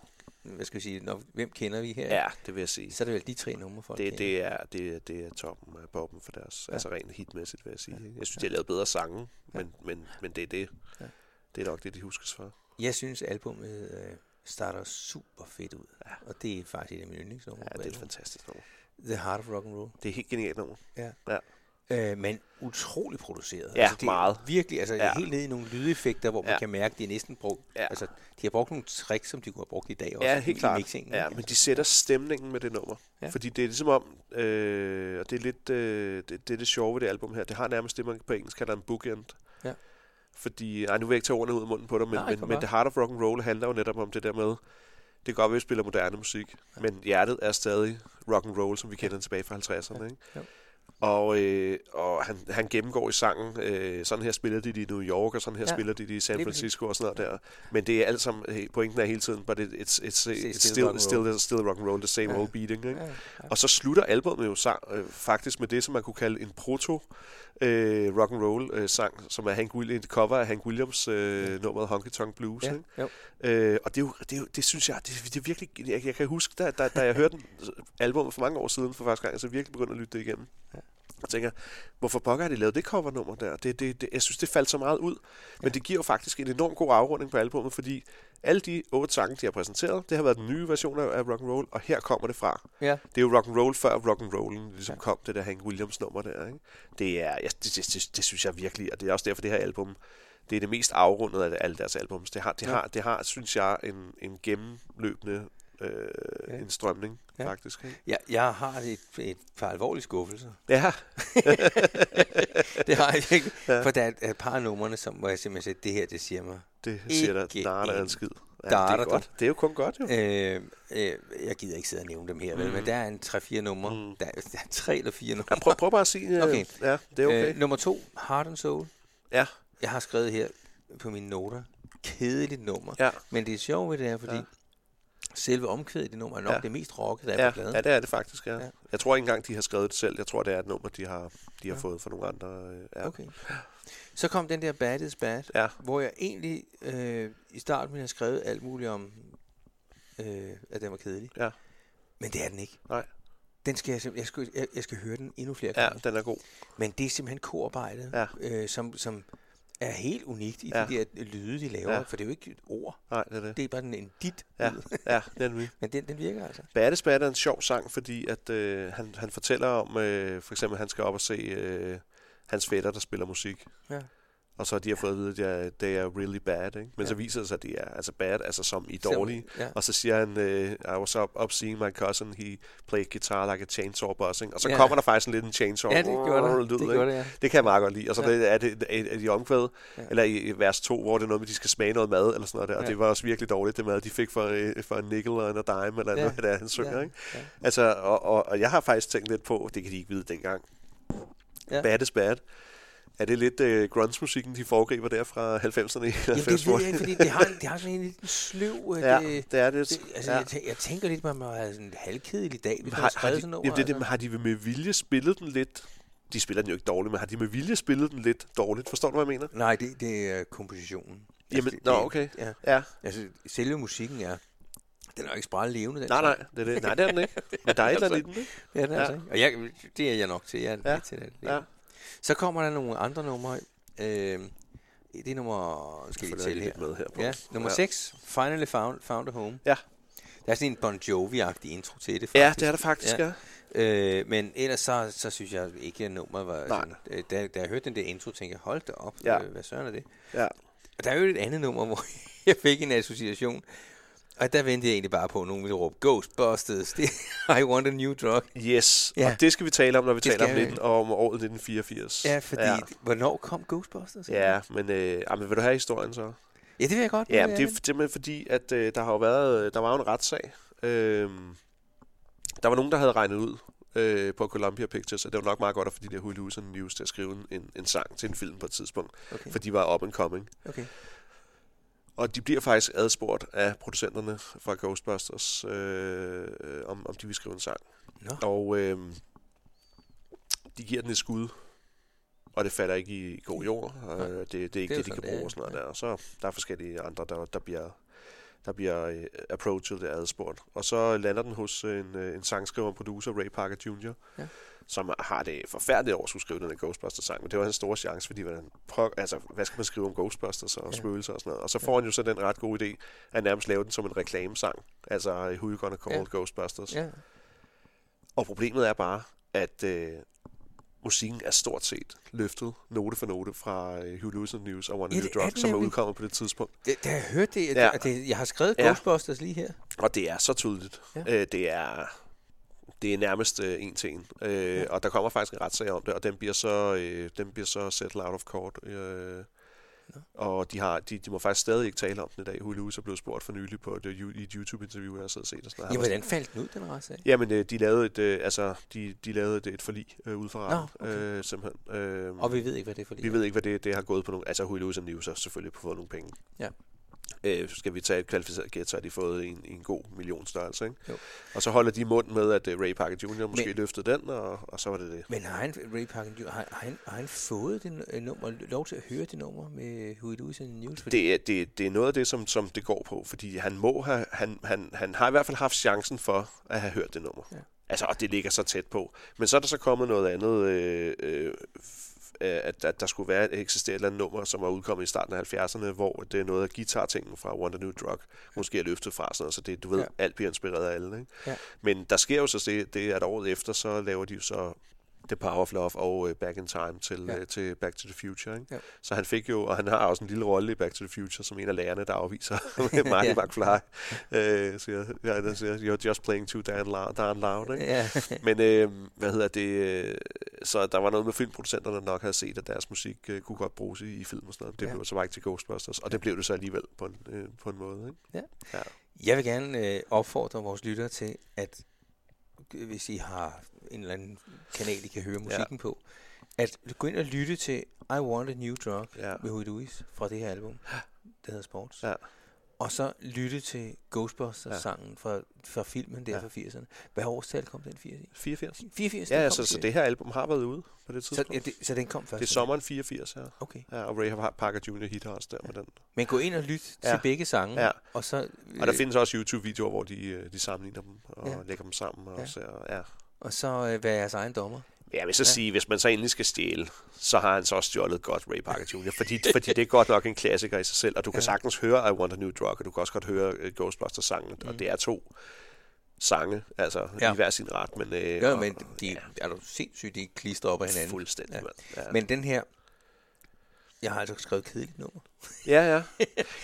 A: hvad skal vi sige, når, hvem kender vi her?
C: Ja, det vil jeg sige.
A: Så er det vel de tre numre, folk
C: Det,
A: kender.
C: det, er, det, er- det er toppen af poppen for deres,
A: Ja.
C: ja. altså rent hitmæssigt, vil jeg sige. ikke? Jeg synes, de har lavet bedre sange,
A: Ja.
C: men, men, men det er det.
A: Ja.
C: Det er nok det, de huskes for.
A: Jeg synes, albumet øh, starter super fedt ud. Ja.
C: Ja.
A: Og det er faktisk et af mine yndlingsnumre.
C: Ja,
A: på
C: det er et
A: albumet.
C: fantastisk nummer.
A: The Heart of Rock and Roll.
C: Det er helt genialt nummer.
A: Øh, men utrolig produceret.
C: Ja,
A: det er
C: meget.
A: Virkelig, altså ja.
C: Ja.
A: helt ned i nogle lydeffekter, hvor man ja.
C: Ja.
A: kan mærke, at de er næsten brugt. Ja.
C: Ja.
A: Altså, de har brugt nogle tricks, som de kunne have brugt i dag også.
C: Ja, helt
A: i
C: klart.
A: Mixingen,
C: Ja, men de sætter stemningen med det nummer.
A: Altså. Ja.
C: Ja. Fordi det er ligesom om, øh, og det er lidt øh, det, det, er det sjove ved det album her, det har nærmest det, man på engelsk kalder en bookend.
A: Ja.
C: Fordi, ej, nu vil jeg ikke tage ordene ud af munden på dig, men,
A: Nej,
C: Nej,
A: kom
C: men, men
A: bare.
C: The Heart of Rock and Roll handler jo netop om det der med, det kan godt være, at vi spiller moderne musik, ja. men hjertet er stadig rock and roll, som vi kender tilbage fra 50'erne. Ikke?
A: Jo.
C: Og, øh, og han, han gennemgår i sangen, øh, sådan her spiller de det i New York, og sådan her
A: Ja.
C: ja. spiller de det i San
A: Lige præcis.
C: Francisco og sådan noget der. Men det er alt sammen, he- pointen er hele tiden, but it, it's, it's,
A: It's
C: it's
A: still
C: still,
A: rock and
C: still, still, still rock and roll, the same
A: Ja.
C: ja. old beating. Ikke?
A: Ja, ja.
C: Og så slutter albumet jo sang, øh, faktisk med det, som man kunne kalde en proto øh, rock and roll øh, sang, som er Hank Williams, et cover af Hank Williams øh, nummeret Honky Tonk Blues.
A: ja.
C: Ikke?
A: Jo.
C: Øh, og det, er jo, det, er jo, det synes jeg, det, det er virkelig, jeg, jeg kan huske, da, da, da jeg hørte den, albumet for mange år siden for første gang, så virkelig begyndte at lytte det igennem.
A: Ja.
C: Ja. Og tænker, hvorfor pokker har de lavet det covernummer der? Det, det, det, jeg synes, det faldt så meget ud.
A: Ja.
C: Men det giver jo faktisk en enorm god afrunding på albumet, fordi alle de otte sange, de har præsenteret, det har været den nye version af, af rock and roll, og her kommer det fra.
A: ja.
C: Det er jo rock and roll før rock and rollen ligesom
A: Ja.
C: ja. kom, det der Hank Williams nummer der, ikke? Det er jeg, det, det, det, det synes jeg virkelig, og det er også derfor det her album, det er det mest afrundet af alle deres albums. Det har det
A: Ja.
C: ja. har det har synes jeg en en gennemløbende øh,
A: Ja.
C: ja. en strømning
A: Ja.
C: ja. faktisk. Ikke?
A: Jeg, jeg har et, et par alvorlige skuffelser.
C: Ja,
A: Det har jeg ikke. Ja. For der er et par af numrene, som, hvor jeg simpelthen siger, det her, det siger mig.
C: det siger
A: Ikke
C: der Nada er
A: en
C: en skid. Ja, det
A: darter,
C: er
A: du.
C: godt. Det er jo kun godt jo.
A: Øh, øh, jeg gider ikke sidde og nævne dem her, mm. vel, men der er en 3-4 numre. Mm.
C: Mm-hmm. Mm.
A: Der, er- der er 3 eller 4 numre.
C: Ja, prøv, prøv bare at sige, øh,
A: Okay.
C: ja, det er okay.
A: Øh, nummer 2, Heart and Soul.
C: ja,
A: Jeg har skrevet her på mine noter, kedeligt nummer.
C: ja,
A: Men det er sjovt ved det her, fordi ja.
C: Ja.
A: selve omkvædet i det nummer er nok ja.
C: Ja.
A: det mest rocket, der er på
C: ja,
A: pladen.
C: ja, det er det faktisk, ja.
A: Ja.
C: ja. Jeg tror ikke engang, de har skrevet det selv. Jeg tror, det er et nummer, de har, de har
A: Ja.
C: ja. fået fra nogle andre. øh, Ja.
A: Okay. Så kom den der Bad is Bad,
C: ja.
A: hvor jeg egentlig øh, i starten ville have skrevet alt muligt om, øh, at den var kedelig.
C: Ja.
A: Men det er den ikke.
C: Nej.
A: Den skal jeg, simpel- jeg, skal, jeg, jeg skal høre den endnu flere
C: Ja,
A: gange.
C: den er god.
A: Men det er simpelthen koarbejdet,
C: Ja.
A: øh, som, som er helt unikt i ja.
C: Ja.
A: de der lyde, de laver.
C: Ja.
A: Ja. For det er jo ikke et ord.
C: Nej, det er det.
A: Det er bare en, en dit
C: Ja,
A: lyd.
C: ja, det er nemlig.
A: Men den, den virker altså.
C: Batte Spatte er en sjov sang, fordi at, øh, han, han fortæller om, øh, for eksempel, at han skal op og se øh, hans fætter, der spiller musik.
A: Ja.
C: Og så har de har fået at vide, at jeg- det er really bad, ikke?
A: Ja.
C: Men så viser det sig, at det er altså bad, altså som i dårlige.
A: Ja.
C: Og så siger han, øh, I was up, up seeing my cousin, he played guitar like a chainsaw buzzing. Og så
A: Ja.
C: ja. kommer der faktisk en lidt en chainsaw.
A: ja, det gjorde
C: lyd,
A: det. Det
C: ikke?
A: gjorde det, ja.
C: Det kan jeg meget godt lide. Og så
A: Ja.
C: ja. er det er, er de i omkvædet,
A: Ja.
C: ja. eller i, i vers 2, hvor det er noget med, de skal smage noget mad, eller sådan noget der. Og
A: Ja.
C: det var også virkelig dårligt, det mad, de fik for, øh, for en nickel og en a dime, eller
A: Ja.
C: ja. noget, der han synger,
A: Ja,
C: ikke?
A: ja.
C: Altså, og, og, og, jeg har faktisk tænkt lidt på, det kan de ikke vide dengang.
A: Ja.
C: Ja. Bad is bad. Er det lidt øh, grunge-musikken, de foregriber der fra 90'erne? i
A: Jamen, det
C: 90'erne?
A: ved jeg ikke, fordi det har, det har sådan en lidt sløv... øh,
C: Ja,
A: det,
C: det er det.
A: det, altså, ja.
C: ja.
A: jeg, tæ- jeg, tænker lidt, man må have sådan en halvkedelig dag, hvis man har
C: har, har,
A: skrevet
C: de,
A: sådan altså.
C: jamen
A: over.
C: det, er det, men har de med vilje spillet den lidt? De spiller den jo ikke dårligt, men har de med vilje spillet den lidt dårligt? Forstår du, hvad jeg mener?
A: Nej, det, det er kompositionen. Altså,
C: Jamen,
A: det,
C: nå,
A: det-
C: okay.
A: Ja.
C: Ja.
A: Altså, selve musikken er... Den er jo ikke spræt levende, den
C: Nej,
A: sang.
C: nej, det er det. Nej, det er den ikke. Men der er et eller andet i den, ikke?
A: Ja, det er ja.
C: Ja.
A: altså, ikke? Og jeg, det er jeg nok til. Jeg er
C: Ja,
A: ja. til det.
C: ja.
A: Så kommer der nogle andre numre. Øh, det er nummer... Nu skal jeg lige
C: Følger
A: tælle her.
C: jeg lidt med her på.
A: Ja, nummer
C: Ja.
A: 6. Finally found, found a home.
C: Ja.
A: Der er sådan en Bon Jovi-agtig intro til det, faktisk.
C: Ja, det er der faktisk, ja.
A: Øh, men ellers så, så synes jeg ikke, at nummeret var...
C: Nej.
A: Sådan, øh, da, da jeg hørte den der intro, tænkte jeg, hold da op, ja.
C: Ja.
A: øh, hvad søren er det?
C: Ja.
A: Og der er jo et andet nummer, hvor jeg fik en association, og der ventede jeg egentlig bare på, at nogen ville råbe, Ghostbusters, det, I want a new drug.
C: Yes,
A: Ja.
C: ja. og det skal vi tale om, når vi
A: Det
C: taler om,
A: skal vi.
C: 19, om året 1984.
A: Ja, fordi, ja. hvornår kom Ghostbusters?
C: Ja, men, øh, ah, men vil du have historien så?
A: ja, det vil jeg godt.
C: Ja,
A: vil
C: men
A: jeg
C: det er
A: gerne.
C: simpelthen fordi, at øh, der har jo været, øh, der var jo en retssag. Øh, der var nogen, der havde regnet ud øh, på Columbia Pictures, og det var nok meget godt at få de der Huey Lewis and the News til at skrive en- en, en sang til en film på et tidspunkt,
A: okay.
C: for de var up and coming.
A: okay.
C: Og de bliver faktisk adspurgt af producenterne fra Ghostbusters, øh, øh, om, om de vil skrive en sang.
A: Nå.
C: Og øh, de giver den et skud, og det falder ikke i god jord.
A: Nej.
C: Og øh, det, det er ikke
A: jo
C: det, det de
A: sådan,
C: kan
A: det er,
C: bruge og sådan noget
A: ja.
C: der. Og så der er forskellige andre, der, der bliver der bliver øh, approachet og adspurgt. Og så lander den hos øh, en, øh, en sangskriver og producer, Ray Parker Jr.,
A: Ja.
C: ja. som har det forfærdeligt over at skulle skrive den her Ghostbusters-sang, men det var hans store chance, fordi hvordan, prøv, altså, hvad skal man skrive om Ghostbusters og
A: Ja.
C: ja. spøgelser og sådan noget. Og så får han jo så den ret gode idé, at nærmest lave den som en reklamesang, altså Who You Gonna Call
A: Ja.
C: ja. Ghostbusters.
A: Ja.
C: Og problemet er bare, at øh, musikken er stort set løftet note for note fra øh, Hugh Lewis and the News og
A: Ja,
C: One ja, New
A: det er
C: Drug,
A: den
C: som er
A: nemlig.
C: udkommet på det tidspunkt.
A: Det, da jeg hørte det, ja.
C: Ja.
A: det, det, jeg har skrevet
C: Ja.
A: Ghostbusters lige her.
C: Og det er så tydeligt.
A: Ja.
C: Ja. Øh, det er det er nærmest øh, en til en. Øh,
A: Ja.
C: ja. Og der kommer faktisk en retssag om det, og den bliver så, øh, den bliver så settled out of court. Øh, og de, har, de, de må faktisk stadig ikke tale om den i dag. Hugh Lewis er blevet spurgt for nylig på et, øh, ju- i et YouTube-interview, jeg har siddet og set. Og sådan noget. Han
A: Ja,
C: var sådan,
A: hvordan faldt den ud, den retssag?
C: Jamen, øh, de lavede et, øh, altså, de, de lavede et, et forlig øh, ud fra
A: Nå,
C: retten,
A: okay.
C: øh, simpelthen. Øh,
A: Og vi ved ikke, hvad det er for lige.
C: vi ved ikke, hvad det, det har gået på nogle... Altså, Huey Lewis and News har selvfølgelig fået nogle penge.
A: Ja.
C: Øh, så skal vi tage et kvalificeret gæt, så har de fået en, en god millionstørrelse, ikke?
A: Jo.
C: Og så holder de mund med, at øh, Ray Parker Jr. måske
A: Men-
C: Men... løftede den, og, og så var det det.
A: Men har han, Ray Parker, Jr., har, har, han, har han fået det øh, nummer, lov til at høre det nummer med Huey Lewis and the News? Fordi-
C: Det er, det, det er noget af det, som, som det går på, fordi han må have, han, han, han har i hvert fald haft chancen for at have hørt det nummer.
A: Ja.
C: Ja. Altså, og det ligger så tæt på. Men så er der så kommet noget andet, øh, øh, f- øh, at, at der skulle være et eksisteret et eller andet nummer, som var udkommet i starten af 70'erne, hvor det er noget af guitar-tingen fra Wonder New Drug, måske er løftet fra sådan noget, så det, du ved,
A: Ja.
C: ja. alt bliver inspireret af alle. Ikke?
A: Ja.
C: Men der sker jo så det, det, at året efter, så laver de jo så The Power of Love og øh, Back in Time til,
A: Ja.
C: ja. til Back to the Future. Ikke?
A: Ja.
C: Så han fik jo, og han har også en lille rolle i Back to the Future, som en af lærerne, der afviser Marty
A: Ja.
C: ja. McFly. Øh, siger, ja, der siger, you're just playing too darn loud. Darn loud ikke?
A: Ja,
C: Men øh, hvad hedder det? øh, Så der var noget med filmproducenterne der nok havde set, at deres musik øh, kunne godt bruges i, i film og sådan noget. Det
A: Ja.
C: ja. blev så bare ikke til Ghostbusters, og det blev det så alligevel på en, øh, på en måde. Ikke?
A: jeg vil gerne øh, opfordre vores lyttere til, at øh, hvis I har en eller anden kanal, I kan høre musikken ja. på, at gå ind og lytte til I Want a New Drug
C: Ja.
A: med Huey Lewis fra det her album, der hedder Sports.
C: Ja.
A: Og så lytte til
C: Ja.
A: Ghostbusters-sangen fra, fra filmen der
C: Ja.
A: fra 80'erne. Hvad årstal kom den 80 i?
C: 84?
A: 84? den
C: Ja, ja
A: kom
C: så,
A: i
C: så
A: 80'erne.
C: det her album har været ude på det
A: så,
C: tidspunkt.
A: ja, det, så den kom først.
C: det er sommeren 84, ja.
A: Okay.
C: ja og Ray Parker Jr. hitter også der med den.
A: Men gå ind og lyt ja.
C: Ja.
A: til begge sange,
C: Ja.
A: og så...
C: Og der
A: øh,
C: findes også YouTube-videoer, hvor de, øh, de sammenligner dem og
A: Ja.
C: ja. lægger dem sammen. Og
A: Ja.
C: ja. Ser, ja.
A: Og så øh, være jeres egen dommer.
C: Ja, jeg vil så ja. sige, hvis man så endelig skal stjæle, så har han så også stjålet godt Ray Parker Jr., fordi, fordi det er godt nok en klassiker i sig selv, og du kan ja. sagtens høre I Want a New Drug, og du kan også godt høre øh, Ghostbusters-sangen, mm. og det er to sange, altså ja.
A: Ja.
C: i hver sin ret, men... Øh,
A: Ja,
C: og-
A: men de, er du sindssygt, de er klistret op af hinanden.
C: Fuldstændig,
A: Ja.
C: mand. Ja.
A: Men den her, jeg har altså skrevet kedeligt nummer.
C: Ja, ja.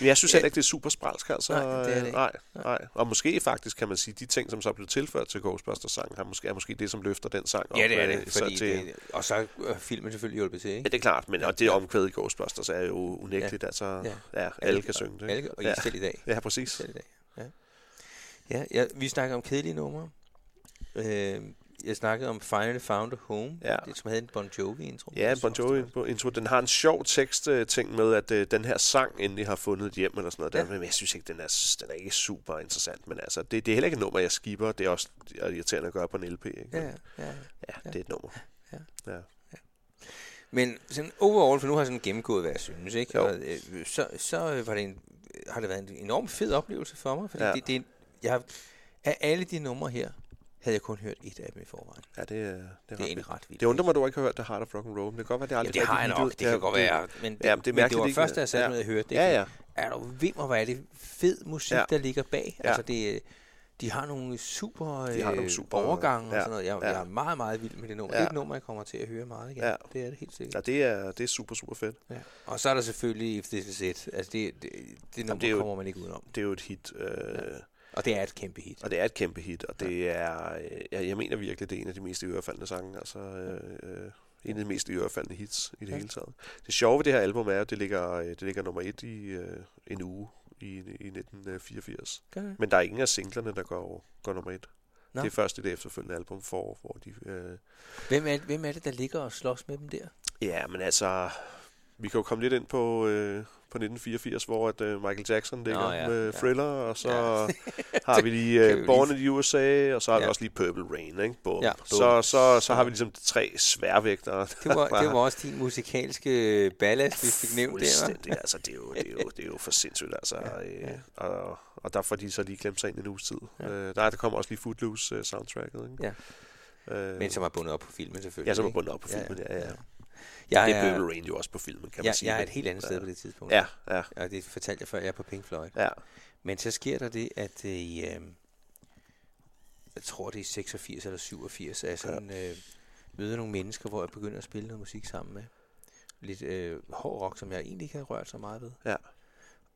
C: Men jeg synes heller ikke, det er super spralsk, altså.
A: Nej, det er det
C: Øh,
A: ikke.
C: Nej, nej. Og måske faktisk kan man sige, de ting, som så blev tilført til Ghostbusters-sangen, er måske, er måske det, som løfter den sang op.
A: Ja, det er
C: øh,
A: det.
C: så
A: Fordi
C: til,
A: det og så er filmen selvfølgelig hjulpet til,
C: Ja,
A: ikke?
C: det er klart, men og det omkvæd i Ghostbusters er jo unægteligt, ja. altså. Ja.
A: Ja.
C: ja, alle kan synge det.
A: Alle, kan- og I
C: ja.
A: selv i dag.
C: ja, præcis.
A: Selv i dag. Ja. Ja, ja, vi snakker om kedelige numre. Øh, jeg snakkede om Finally Found a Home,
C: Ja.
A: det, som havde en Bon Jovi-intro.
C: Ja, Bon Jovi på intro. Den har en sjov tekst øh, ting med, at øh, den her sang endelig har fundet et hjem eller sådan noget. Ja. Der,
A: Ja.
C: men jeg synes ikke, den er, den er ikke super interessant. Men altså, det, det er heller ikke et nummer, jeg skipper. Det er også irriterende at gøre på en LP. Ikke?
A: Ja, ja.
C: ja, det er et nummer.
A: Ja.
C: ja.
A: Men sådan overall, for nu har jeg sådan gennemgået, hvad jeg synes, ikke?
C: Jo.
A: Og, øh, så, så øh, var det en, har det været en enorm fed oplevelse for mig, fordi
C: Ja.
A: ja. det, det, er en- jeg, af alle de numre her, havde jeg kun hørt et af dem i forvejen.
C: Ja, det, er- det, er ret
A: Det er
C: vildt.
A: egentlig ret vildt.
C: det undrer mig, at du ikke har hørt The Heart of Rock and Roll. Men det kan godt være, det aldrig
A: Jamen, det har jeg
C: rigtig
A: nok,
C: lyttede.
A: det kan godt være. Men det,
C: Jamen, det er
A: men det
C: mærkeligt,
A: var
C: ikke?
A: først, da jeg satte
C: Ja.
A: mig ned og hørte det.
C: Ja, ja.
A: Er du vimmer, hvor er det fed musik,
C: Ja.
A: ja. der ligger bag. Ja.
C: Ja.
A: Altså, det, de har nogle super, øh,
C: De har nogle super-
A: overgange
C: ja.
A: og sådan noget. Jeg,
C: Ja.
A: ja. jeg er meget, meget vild med det nummer. Ja.
C: Ja.
A: Det er et nummer, jeg kommer til at høre meget igen.
C: Ja.
A: Ja. Det er det helt sikkert.
C: Ja, det er, det er super, super fedt.
A: Ja. Og så er der selvfølgelig If This Is It. Altså, det, det, det nummer
C: det er jo-
A: kommer man ikke udenom.
C: Det er jo et hit, øh, ja.
A: Og det er et kæmpe hit.
C: og det er et kæmpe hit, og det er, øh, jeg, jeg mener virkelig, det er en af de mest ørefaldende sange, altså øh, øh, en af de mest ørefaldende hits i det
A: Ja.
C: hele taget. Det sjove ved det her album er, at det ligger, øh, det ligger nummer et i øh, en uge i, i 1984.
A: Gør det?
C: Men der er ingen af singlerne, der går, går nummer et.
A: Nå.
C: Det er først i det efterfølgende album, for, hvor de... Øh,
A: Hvem er, hvem er det, der ligger og slås med dem der?
C: Ja, men altså, vi kan jo komme lidt ind på, øh, på 1984, hvor at, øh, Michael Jackson ligger Nå, ja,
A: ja,
C: med
A: ja.
C: Thriller, og så
A: Ja.
C: har vi lige
A: kan vi
C: øh,
A: jo
C: Born in the USA, og så har ja. vi
A: Ja.
C: også lige Purple Rain, ikke? Bum. Ja,
A: Ja,
C: bum. Så,
A: bum.
C: så, så har vi ligesom de tre sværvægtere.
A: Det var, det var også din musikalske øh, ballast, vi fik nævnt der, hva'?
C: Fuldstændig, altså, det er, jo, det, er jo, det er jo for sindssygt, altså. Ja, ja. Og, og der får de så lige klemt sig ind en uges tid. Ja.
A: Ja.
C: Øh, der, der kommer også lige Footloose-soundtracket, ikke? Ja. Øh,
A: Men som er bundet op på filmen, selvfølgelig.
C: ja, som er
A: ikke?
C: bundet op på filmen, ja, ja. ja.
A: Jeg,
C: Det
A: er,
C: er Purple Rain jo også på filmen, kan man
A: jeg,
C: sige.
A: jeg er
C: men-
A: et helt andet sted på det tidspunkt.
C: Ja, ja,
A: Og det fortalte jeg før, jeg er på Pink Floyd.
C: ja.
A: Men så sker der det, at øh, i, øh, jeg tror det er 86 eller 87, at jeg sådan, øh, møder nogle mennesker, hvor jeg begynder at spille noget musik sammen med. Lidt øh, hård rock, som jeg egentlig ikke havde rørt så meget ved.
C: Ja.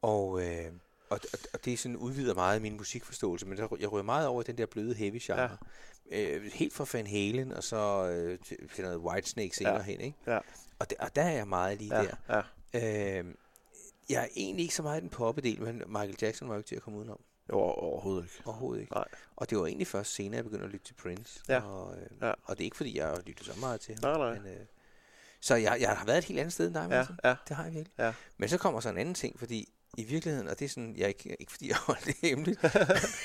A: Og, øh, og, og, og det sådan udvider meget min musikforståelse, men der, ry- jeg ryger meget over i den der bløde heavy genre. Ja. Øh, helt fra Van Halen, og så øh, til, til noget Whitesnake senere
C: Ja.
A: ja. hen. Ikke?
C: Ja.
A: Og, der, og der er jeg meget lige
C: ja,
A: der.
C: ja.
A: Øh, jeg er egentlig ikke så meget i den poppedel, men Michael Jackson var jo ikke til at komme udenom.
C: Jo, overhovedet ikke.
A: Overhovedet ikke.
C: Nej.
A: Og det var egentlig først senere, jeg begyndte at lytte til Prince.
C: Ja.
A: Og, øh,
C: Ja.
A: og det er ikke, fordi jeg har lyttet så meget til ham.
C: Nej, nej.
A: Men, øh, så jeg, jeg har været et helt andet sted end dig,
C: Ja,
A: Martin.
C: ja,
A: Det har jeg virkelig.
C: Ja.
A: Men så kommer så en anden ting, fordi i virkeligheden, og det er sådan, jeg er ikke, ikke fordi jeg holder det hemmeligt,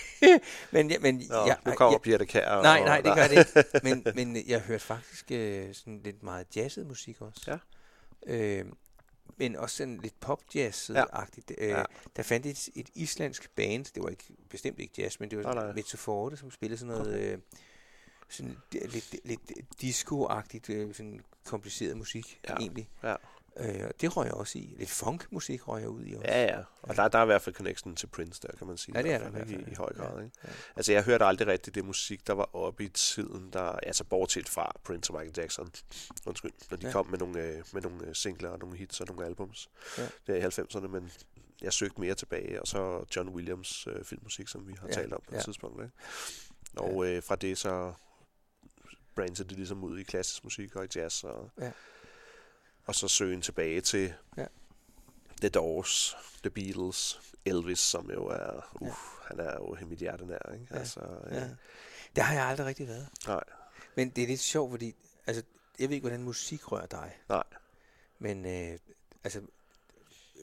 A: men, jeg, men
C: Nå,
A: jeg,
C: nu kommer
A: jeg,
C: Birte Kær.
A: Nej,
C: og-
A: nej, det gør det ikke. Men, men jeg hørte faktisk øh, sådan lidt meget jazzet musik også.
C: Ja.
A: Øh, men også sådan lidt popjazz-agtigt. Øh,
C: Ja.
A: ja. Der fandt et, et islandsk band, det var ikke, bestemt ikke jazz, men det
C: Nej,
A: var
C: nej.
A: sådan Mezzoforte, som spillede sådan noget øh, sådan d- lidt, lidt disco-agtigt, øh, sådan kompliceret musik
C: Ja.
A: ja. egentlig.
C: Ja.
A: Øh, og det røg jeg også i. Lidt funk-musik røg jeg ud i også.
C: Ja, ja. Og der, der er i hvert fald connection til Prince der, kan man sige.
A: Ja, det er
C: I hvert
A: der i
C: fald,
A: hvert fald,
C: I, i høj
A: ja.
C: grad. Ikke?
A: Ja.
C: Altså, jeg hørte aldrig rigtig det musik, der var oppe i tiden, der, altså bortset fra Prince og Michael Jackson, undskyld, når de ja.
A: Ja.
C: kom med nogle, øh, med nogle øh, singler og nogle hits og nogle albums ja.
A: Ja.
C: der i 90'erne, men jeg søgte mere tilbage, og så John Williams øh, filmmusik, som vi har ja.
A: Ja,
C: talt om på ja.
A: ja.
C: et tidspunkt. Ikke? Og øh, fra det så branchede det ligesom ud i klassisk musik og i jazz, og, ja.
A: Ja.
C: og så søgen tilbage til ja.
A: Ja.
C: The Doors, The Beatles, Elvis, som jo er, uh, ja. han er jo mit hjerte nær, ikke? Ja.
A: Ja.
C: Altså, øh,
A: Ja. Der har jeg aldrig rigtig været.
C: Nej.
A: Men det er lidt sjovt, fordi altså, jeg ved ikke, hvordan musik rører dig.
C: Nej.
A: Men øh, altså,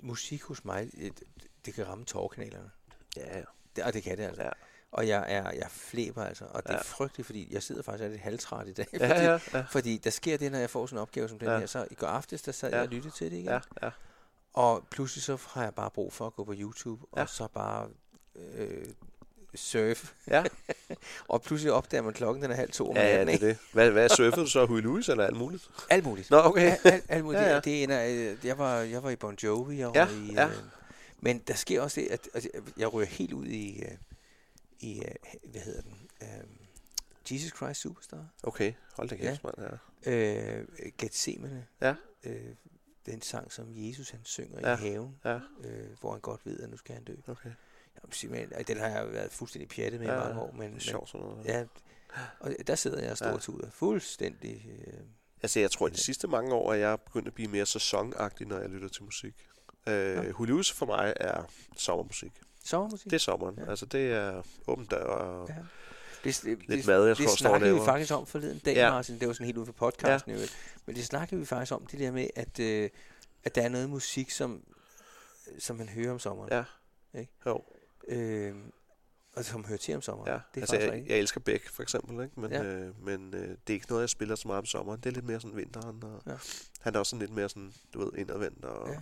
A: musik hos mig, øh, det, det kan ramme tårkanalerne.
C: ja, ja.
A: Det, og det kan det altså.
C: Ja.
A: Og jeg, er, jeg flæber altså. Og det
C: Ja.
A: er frygteligt, fordi jeg sidder faktisk lidt halvtræt i dag. Fordi,
C: Ja, ja, ja.
A: fordi der sker det, når jeg får sådan en opgave som den
C: Ja.
A: her. Så i går aftes, der sad
C: Ja.
A: ja. jeg og lyttede til det igen.
C: Ja, ja.
A: Og pludselig så har jeg bare brug for at gå på YouTube.
C: Ja.
A: Og så bare øh, surf
C: ja.
A: Og pludselig opdager man klokken, den er halv to om
C: Ja, ja,
A: natten,
C: det
A: ikke?
C: er det. Hvad, hvad surfede du så? Huey Lewis eller alt muligt?
A: Alt muligt.
C: Nå, okay.
A: Al, al, alt muligt.
C: Ja,
A: Ja,
C: ja.
A: ja. Det ender, øh, jeg, var, jeg var i Bon Jovi, jeg
C: Ja,
A: var i...
C: ja.
A: Øh, men der sker også det, at, at jeg rører helt ud i, øh, i øh, hvad hedder den, øh, Jesus Christ Superstar,
C: Okay, hold da kæft,
A: Ja.
C: mand. Ja.
A: øh, Gethsemane,
C: Ja.
A: øh, den sang, som Jesus han synger
C: Ja,
A: i haven,
C: ja.
A: øh, hvor han godt ved, at nu skal han dø.
C: Okay.
A: Jamen, simpelthen, øh, den har jeg været fuldstændig pjattet med
C: Ja,
A: i mange år, men,
C: Det er
A: men
C: sjovt sådan noget.
A: Ja, og der sidder jeg og
C: Ja.
A: stortuder. Ja. Fuldstændig. Øh,
C: Altså, jeg tror, at de sidste mange år, at jeg er begyndt at blive mere sæsonagtig, når jeg lytter til musik. Øh,
A: Nå.
C: Huey Lewis for mig er sommermusik.
A: sommermusik.
C: Det er sommeren. Ja.
A: Ja.
C: Altså, det er åben dør og
A: ja. det, det,
C: lidt
A: det,
C: mad, jeg
A: det
C: tror, står og
A: snakkede vi
C: laver.
A: faktisk om forleden dag,
C: Ja.
A: ja. Martin. Det var sådan helt ude for podcasten. Ja. Men det snakkede vi faktisk om, det der med, at, øh, at der er noget musik, som, som man hører om sommeren.
C: Ja.
A: Ikke?
C: Jo,
A: Øh, og som hører til om sommeren.
C: ja.
A: Det er
C: altså,
A: faktisk
C: jeg,
A: rigtigt.
C: jeg elsker Beck, for eksempel, ikke? men, ja.
A: Ja.
C: øh, men øh, det er ikke noget, jeg spiller så meget om sommeren. Det er lidt mere sådan vinteren, og ja.
A: Ja.
C: han er også sådan lidt mere sådan, du ved, indadvendt, og ja.
A: Ja.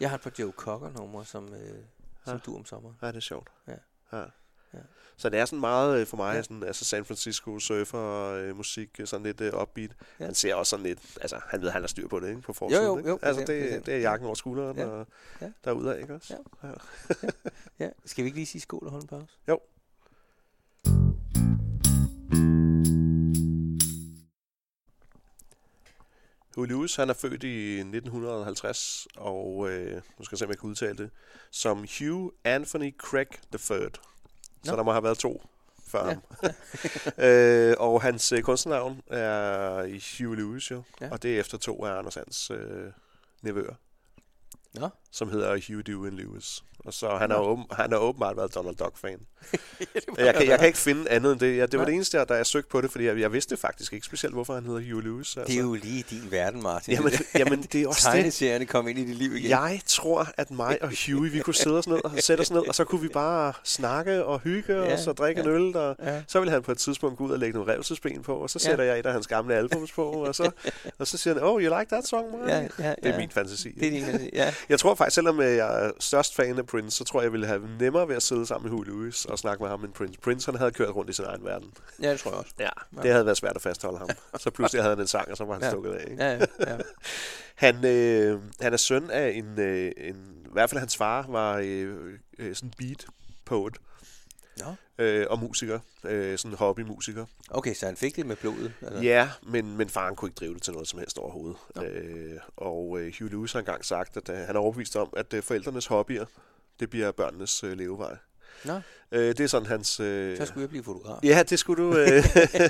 A: Jeg har et par Joe Cocker-numre, som, øh, som
C: Ja.
A: du om sommeren.
C: ja, det er sjovt.
A: Ja.
C: Ja.
A: Ja.
C: Så det er sådan meget øh, for mig, ja.
A: Ja.
C: sådan, altså San Francisco surfer øh, musik, øh, sådan lidt øh, upbeat. Ja.
A: Ja.
C: Han ser også sådan lidt, altså han ved, han har styr på det, ikke? På forsiden,
A: jo,
C: ikke?
A: jo,
C: altså
A: bestemt,
C: det,
A: bestemt.
C: det er jakken over skulderen, ja.
A: Ja.
C: og ja.
A: Ja.
C: derudad, ikke også?
A: Ja. Ja. Skal vi ikke lige sige skål og holde en pause?
C: Jo. Huey Lewis, han er født i 1950, og øh, nu skal jeg se, om jeg kan udtale det, som Hugh Anthony Craig III. No. Så
A: Nå.
C: der må have været to før
A: Ja,
C: ham. øh, og hans øh, kunstnernavn er Hugh Lewis, jo, ja.
A: Ja.
C: og det er efter to af Anders Sands øh, nevøer
A: Nå.
C: som hedder Hugh Dewey Lewis. Og så han har,
A: Nå.
C: åben, han har åbenbart været Donald Duck-fan.
A: Ja, det må
C: Jeg kan, jeg
A: være.
C: kan ikke finde andet end det. Ja, det var
A: Nej.
C: det eneste, der jeg søgte på det, fordi jeg, jeg vidste faktisk ikke specielt, hvorfor han hedder Hugh Lewis. Altså.
A: Det er jo lige din verden, Martin.
C: Jamen, jamen, det er også det.
A: Tegneserierne kom ind i dit liv igen.
C: Jeg tror, at mig og Huey, vi kunne sidde os ned og sætte os ned, og så kunne vi bare snakke og hygge ja,
A: Ja,
C: os og drikke ja.
A: ja.
C: en øl. Og
A: Ja.
C: så ville han på et tidspunkt gå ud og lægge nogle revsesben på, og så
A: Ja.
C: sætter jeg et af hans gamle albums på, og så, og så siger han, oh, you like that song, man?
A: Ja, ja,
C: Det er
A: ja.
C: min fantasi.
A: Det er din fantasi, ja.
C: Jeg tror faktisk, selvom øh, jeg er størst fan af Prince, så tror jeg, jeg ville have nemmere ved at sidde sammen med Huey Lewis og snakke med ham end Prince. Prince, han havde kørt rundt i sin egen verden.
A: ja, det tror jeg også.
C: Ja. Det havde været svært at fastholde ham. Så pludselig havde han en sang, og så var han ja.
A: Ja.
C: stukket af. Ikke?
A: Ja, ja, ja.
C: Han, øh, han er søn af en, øh, en... I hvert fald hans far var øh, øh, sådan beat poet
A: Nå.
C: øh, og musiker. Øh, sådan hobbymusiker.
A: Okay, så han fik det med blodet? Eller?
C: Ja, men, men faren kunne ikke drive det til noget som helst overhovedet.
A: Nå.
C: Øh, og øh, Hugh Lewis har engang sagt, at øh, han er overbevist om, at øh, forældrenes hobbyer, det bliver børnenes øh, levevej.
A: Nå,
C: Øh, det er sådan hans... Øh,
A: så skulle jeg blive fotograf.
C: Ja, det skulle du. Øh,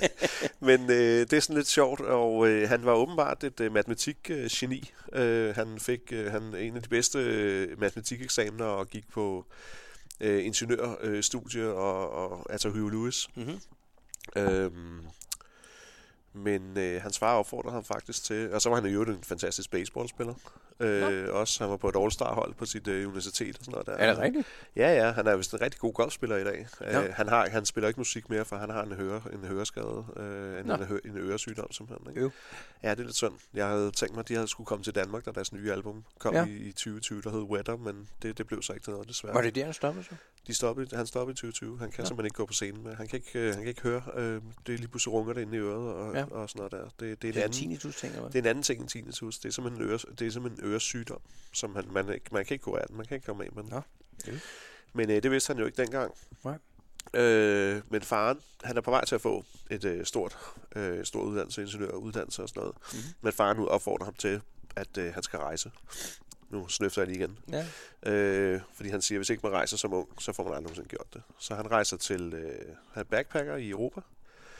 C: men øh, det er sådan lidt sjovt, og øh, han var åbenbart et øh, matematikgeni. Øh, han fik øh, han en af de bedste øh, matematikeksamener og gik på øh, ingeniørstudie, og, og, altså Hugh Lewis.
A: Mm-hmm.
C: Øhm, men øh, hans far opfordrede ham faktisk til, og så var han i øvrigt en fantastisk baseballspiller. Øh, også, han var på et All-Star-hold på sit øh, universitet og sådan noget. Der.
A: Er det rigtigt?
C: Ja, ja, han er vist en rigtig god golfspiller i dag.
A: Nå.
C: Øh, han, har, han spiller ikke musik mere, for han har en, høre, en høreskade, øh, en,
A: Nå.
C: en, hø, en øresygdom simpelthen. Ikke?
A: Øv.
C: Ja, det er lidt synd. Jeg havde tænkt mig, at de havde skulle komme til Danmark, da deres nye album kom ja.
A: Ja.
C: i, i 2020, der hed Weather, men det, det blev så ikke til noget, desværre.
A: Var det der, han stoppede så?
C: De stoppede, han stoppede i 2020. Han kan
A: Nå.
C: simpelthen ikke gå på scenen med. Han kan ikke, øh, han kan ikke høre. Øh, det er lige pludselig runger det inde i øret og, ja.
A: Ja.
C: og sådan noget der. Det, det, er
A: Det er
C: en
A: en
C: anden,
A: tinnitus, tænker man.
C: det er en anden ting end tinnitus. Det er simpelthen en, øre, det er simpelthen en øresygdom, som han, man, ikke- man kan ikke gå af den. Man kan ikke komme af med den.
A: Nå. Øh.
C: Men øh, det vidste han jo ikke dengang.
A: Nej.
C: Øh, men faren, han er på vej til at få et øh, stort, øh, stor uddannelse, ingeniør og uddannelse og sådan noget.
A: Mhm.
C: Men faren ud opfordrer ham til, at øh, han skal rejse. Nu snøfter jeg lige igen.
A: Ja.
C: Øh, fordi han siger, at hvis ikke man rejser som ung, så får man aldrig nogensinde gjort det. Så han rejser til, øh, han er backpacker i Europa.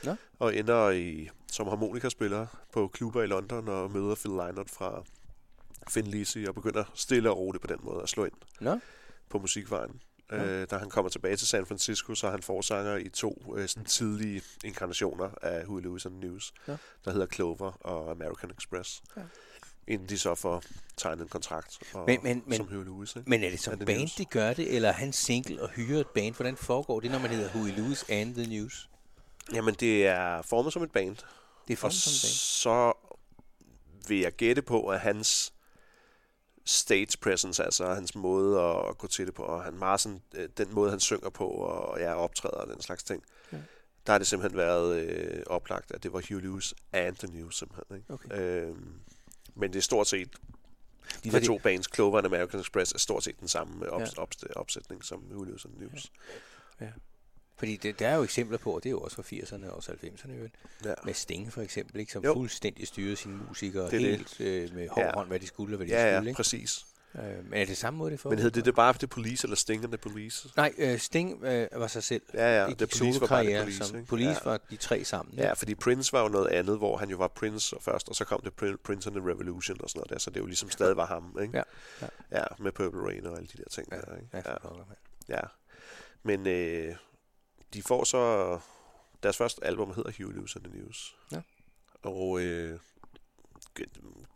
A: Nå.
C: Og ender i, som harmonikaspiller på klubber i London og møder Phil Lynott fra Finn Lisi og begynder stille og roligt på den måde at slå ind
A: Nå,
C: på musikvejen.
A: Ja.
C: Øh, da han kommer tilbage til San Francisco, så er han forsanger i to øh, sådan tidlige inkarnationer af Huey Lewis and the News, ja.
A: Ja.
C: der hedder Clover og American Express. Ja.
A: Ja.
C: Inden de så får tegnet en kontrakt og,
A: Men- men- men-
C: som Huey Lewis. Ikke?
A: men er det
C: Er
A: som
C: det
A: band,
C: news?
A: de gør det, eller er han single og hyrer et band? Hvordan foregår det, når man hedder Huey Lewis and the News?
C: Jamen, det er formet som et band.
A: Det er
C: Og
A: formet som et band.
C: så vil jeg gætte på, at hans stage presence, altså hans måde at gå til det på, og han meget sådan, øh, den måde, han synger på, og jeg ja, optræder og den slags ting, ja.
A: Ja.
C: der har det simpelthen været øh, oplagt, at det var Hugh Lewis and the News, simpelthen. Ikke?
A: Okay.
C: Øh, men det er stort set... De der
A: Fordi-
C: to bands, Clover og American Express, er stort set den samme øh, op-
A: Ja.
C: opst- opsætning som Hugh Lewis and the News.
A: Fordi det, der er jo eksempler på, og det er jo også fra 80'erne og også 90'erne, jo,
C: Ja.
A: med Sting for eksempel, ikke, som
C: Jo.
A: jo. fuldstændig styrede sine musikere
C: Det er det.
A: helt Øh, med hård
C: Ja.
A: ja. hånd, hvad de skulle og hvad de ikke
C: Ja,
A: skulle.
C: ja,
A: Ikke?
C: præcis.
A: Øh, men er det samme måde, det får?
C: Men hed det det bare The Police, eller Sting and the Police?
A: Nej, øh, Sting øh, var sig selv.
C: Ja, ja,
A: I
C: The
A: gik
C: Police var bare The
A: solokarriere
C: Police,
A: som
C: ikke?
A: Police
C: ja.
A: var de tre sammen. ikke?
C: Ja, fordi Prince var jo noget andet, hvor han jo var Prince først, og så kom det Prin- Prince and the Revolution og sådan noget der, så det jo ligesom stadig var ham, ikke?
A: Ja, ja.
C: ja med Purple Rain og alle de der ting
A: Ja,
C: der, ikke?
A: Ja, for pokker, mand.
C: ja. Men øh, de får så... Deres første album hedder Hugh Lewis and the News.
A: Ja.
C: Og øh, gud,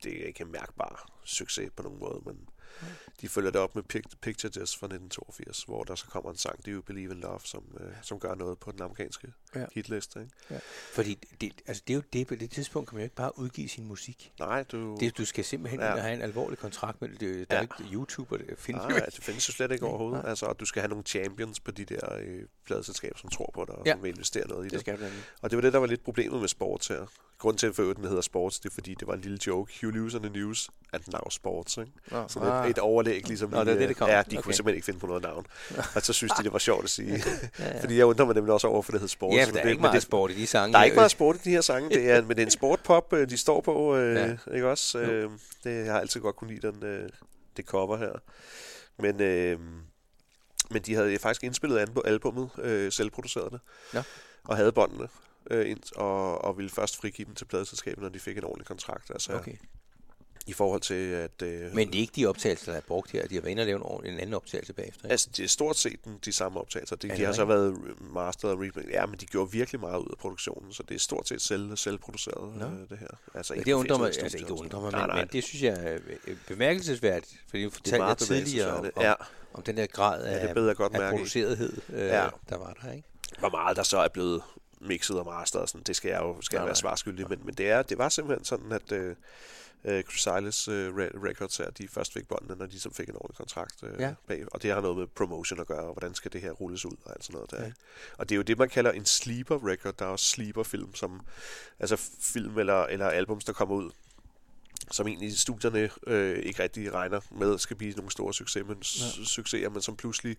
C: det er ikke en mærkbar succes på nogen måde, men
A: Nej.
C: de følger det op med Pic- Picture Disc fra 1982, hvor der så kommer en sang, Do You Believe in Love, som, øh, som gør noget på den amerikanske
A: Ja.
C: hitliste. Ikke?
A: Fordi det, altså det er jo det, på det tidspunkt kan man jo ikke bare udgive sin musik.
C: Nej, du...
A: Det, du skal simpelthen
C: Uh. Ja.
A: ja. have en alvorlig kontrakt med det. Der er
C: Ja.
A: ja. ikke YouTube, og det findes jo
C: Nej,
A: ikke.
C: det findes jo slet ikke
A: Nej,
C: overhovedet.
A: nej.
C: Altså, og du skal have nogle champions på de der øh, pladeselskaber, som tror på dig, og
A: Ja.
C: som vil investere noget i det.
A: Det skal du nemlig.
C: Og det var det, der var lidt problemet med sports her. Grunden til, at for øvrigt, den hedder sports, det er fordi, det var en lille joke. Hugh Lewis and the News and now sports, ikke?
A: Nå,
C: Sådan ah. et, et overlæg, ligesom.
A: Nå, det var
C: i,
A: det, det kom.
C: Ja, de okay. kunne
A: Okay.
C: simpelthen ikke finde på noget navn. Og så synes de, det var sjovt at sige.
A: ja, ja.
C: fordi jeg undrer mig nemlig også over, for det hedder sports.
A: ja,
C: men
A: for der er
C: det-
A: ikke
C: men
A: meget
C: det-
A: sport i de sange.
C: der er ikke
A: øh,
C: meget sport i de her sange, det er, men det er en sportpop, øh, de står på, øh, ja.
A: Ja.
C: ikke også?
A: Jo.
C: Øh, det, jeg har altid godt kunne lide den, øh, det cover her. Men, øh, men de havde faktisk indspillet anbo- albummet, øh, selvproduceret det,
A: Nå.
C: og havde båndene, øh, ind- og, og ville først frigive dem til pladeselskabet, når de fik en ordentlig kontrakt. Altså, okay.
A: Okay.
C: I forhold til, at... Øh,
A: Men det er ikke de optagelser, der er brugt her. De har været inde og lave en, ord- en anden optagelse bagefter. Ikke?
C: Altså, det er stort set den, de samme optagelser. De,
A: Er det
C: de har så været masteret og remixet. Ja, men de gjorde virkelig meget ud af produktionen, så det er stort set selv, selvproduceret,
A: Nå.
C: øh, det her. Altså,
A: Men
C: ikke
A: det undrer mig,
C: fedt ud af
A: altså ikke
C: studiet og
A: undrer mig,
C: sådan noget. Nej,
A: men,
C: nej.
A: men det synes jeg er øh, bemærkelsesværdigt, fordi du
C: Det er
A: fortalte
C: meget
A: jeg tidligere om,
C: bevægelsesværdigt.
A: om,
C: Ja,
A: om den der grad
C: ja,
A: af,
C: det beder jeg godt
A: af
C: mærke. i.
A: producerethed, øh,
C: Ja.
A: ja. der var der, ikke?
C: Hvor meget der så er blevet mixet og masteret, og sådan, det skal jeg jo skal jeg
A: Nej,
C: være
A: nej.
C: svarskyldig, men, men det, er, det var simpelthen sådan, at øh, øh, Chris Silas øh, re- Records her, de først fik båndene, når de som fik en ordentlig kontrakt øh, ja.
A: Ja.
C: bag. Og det har noget med promotion at gøre, og hvordan skal det her rulles ud og alt sådan noget der.
A: Ja.
C: Ja. Og det er jo det, man kalder en sleeper record. Der er også sleeper film, som, altså film eller, eller albums, der kommer ud som egentlig studierne øh, ikke rigtig regner med, skal blive nogle store succes, men, ja. succeser, men som pludselig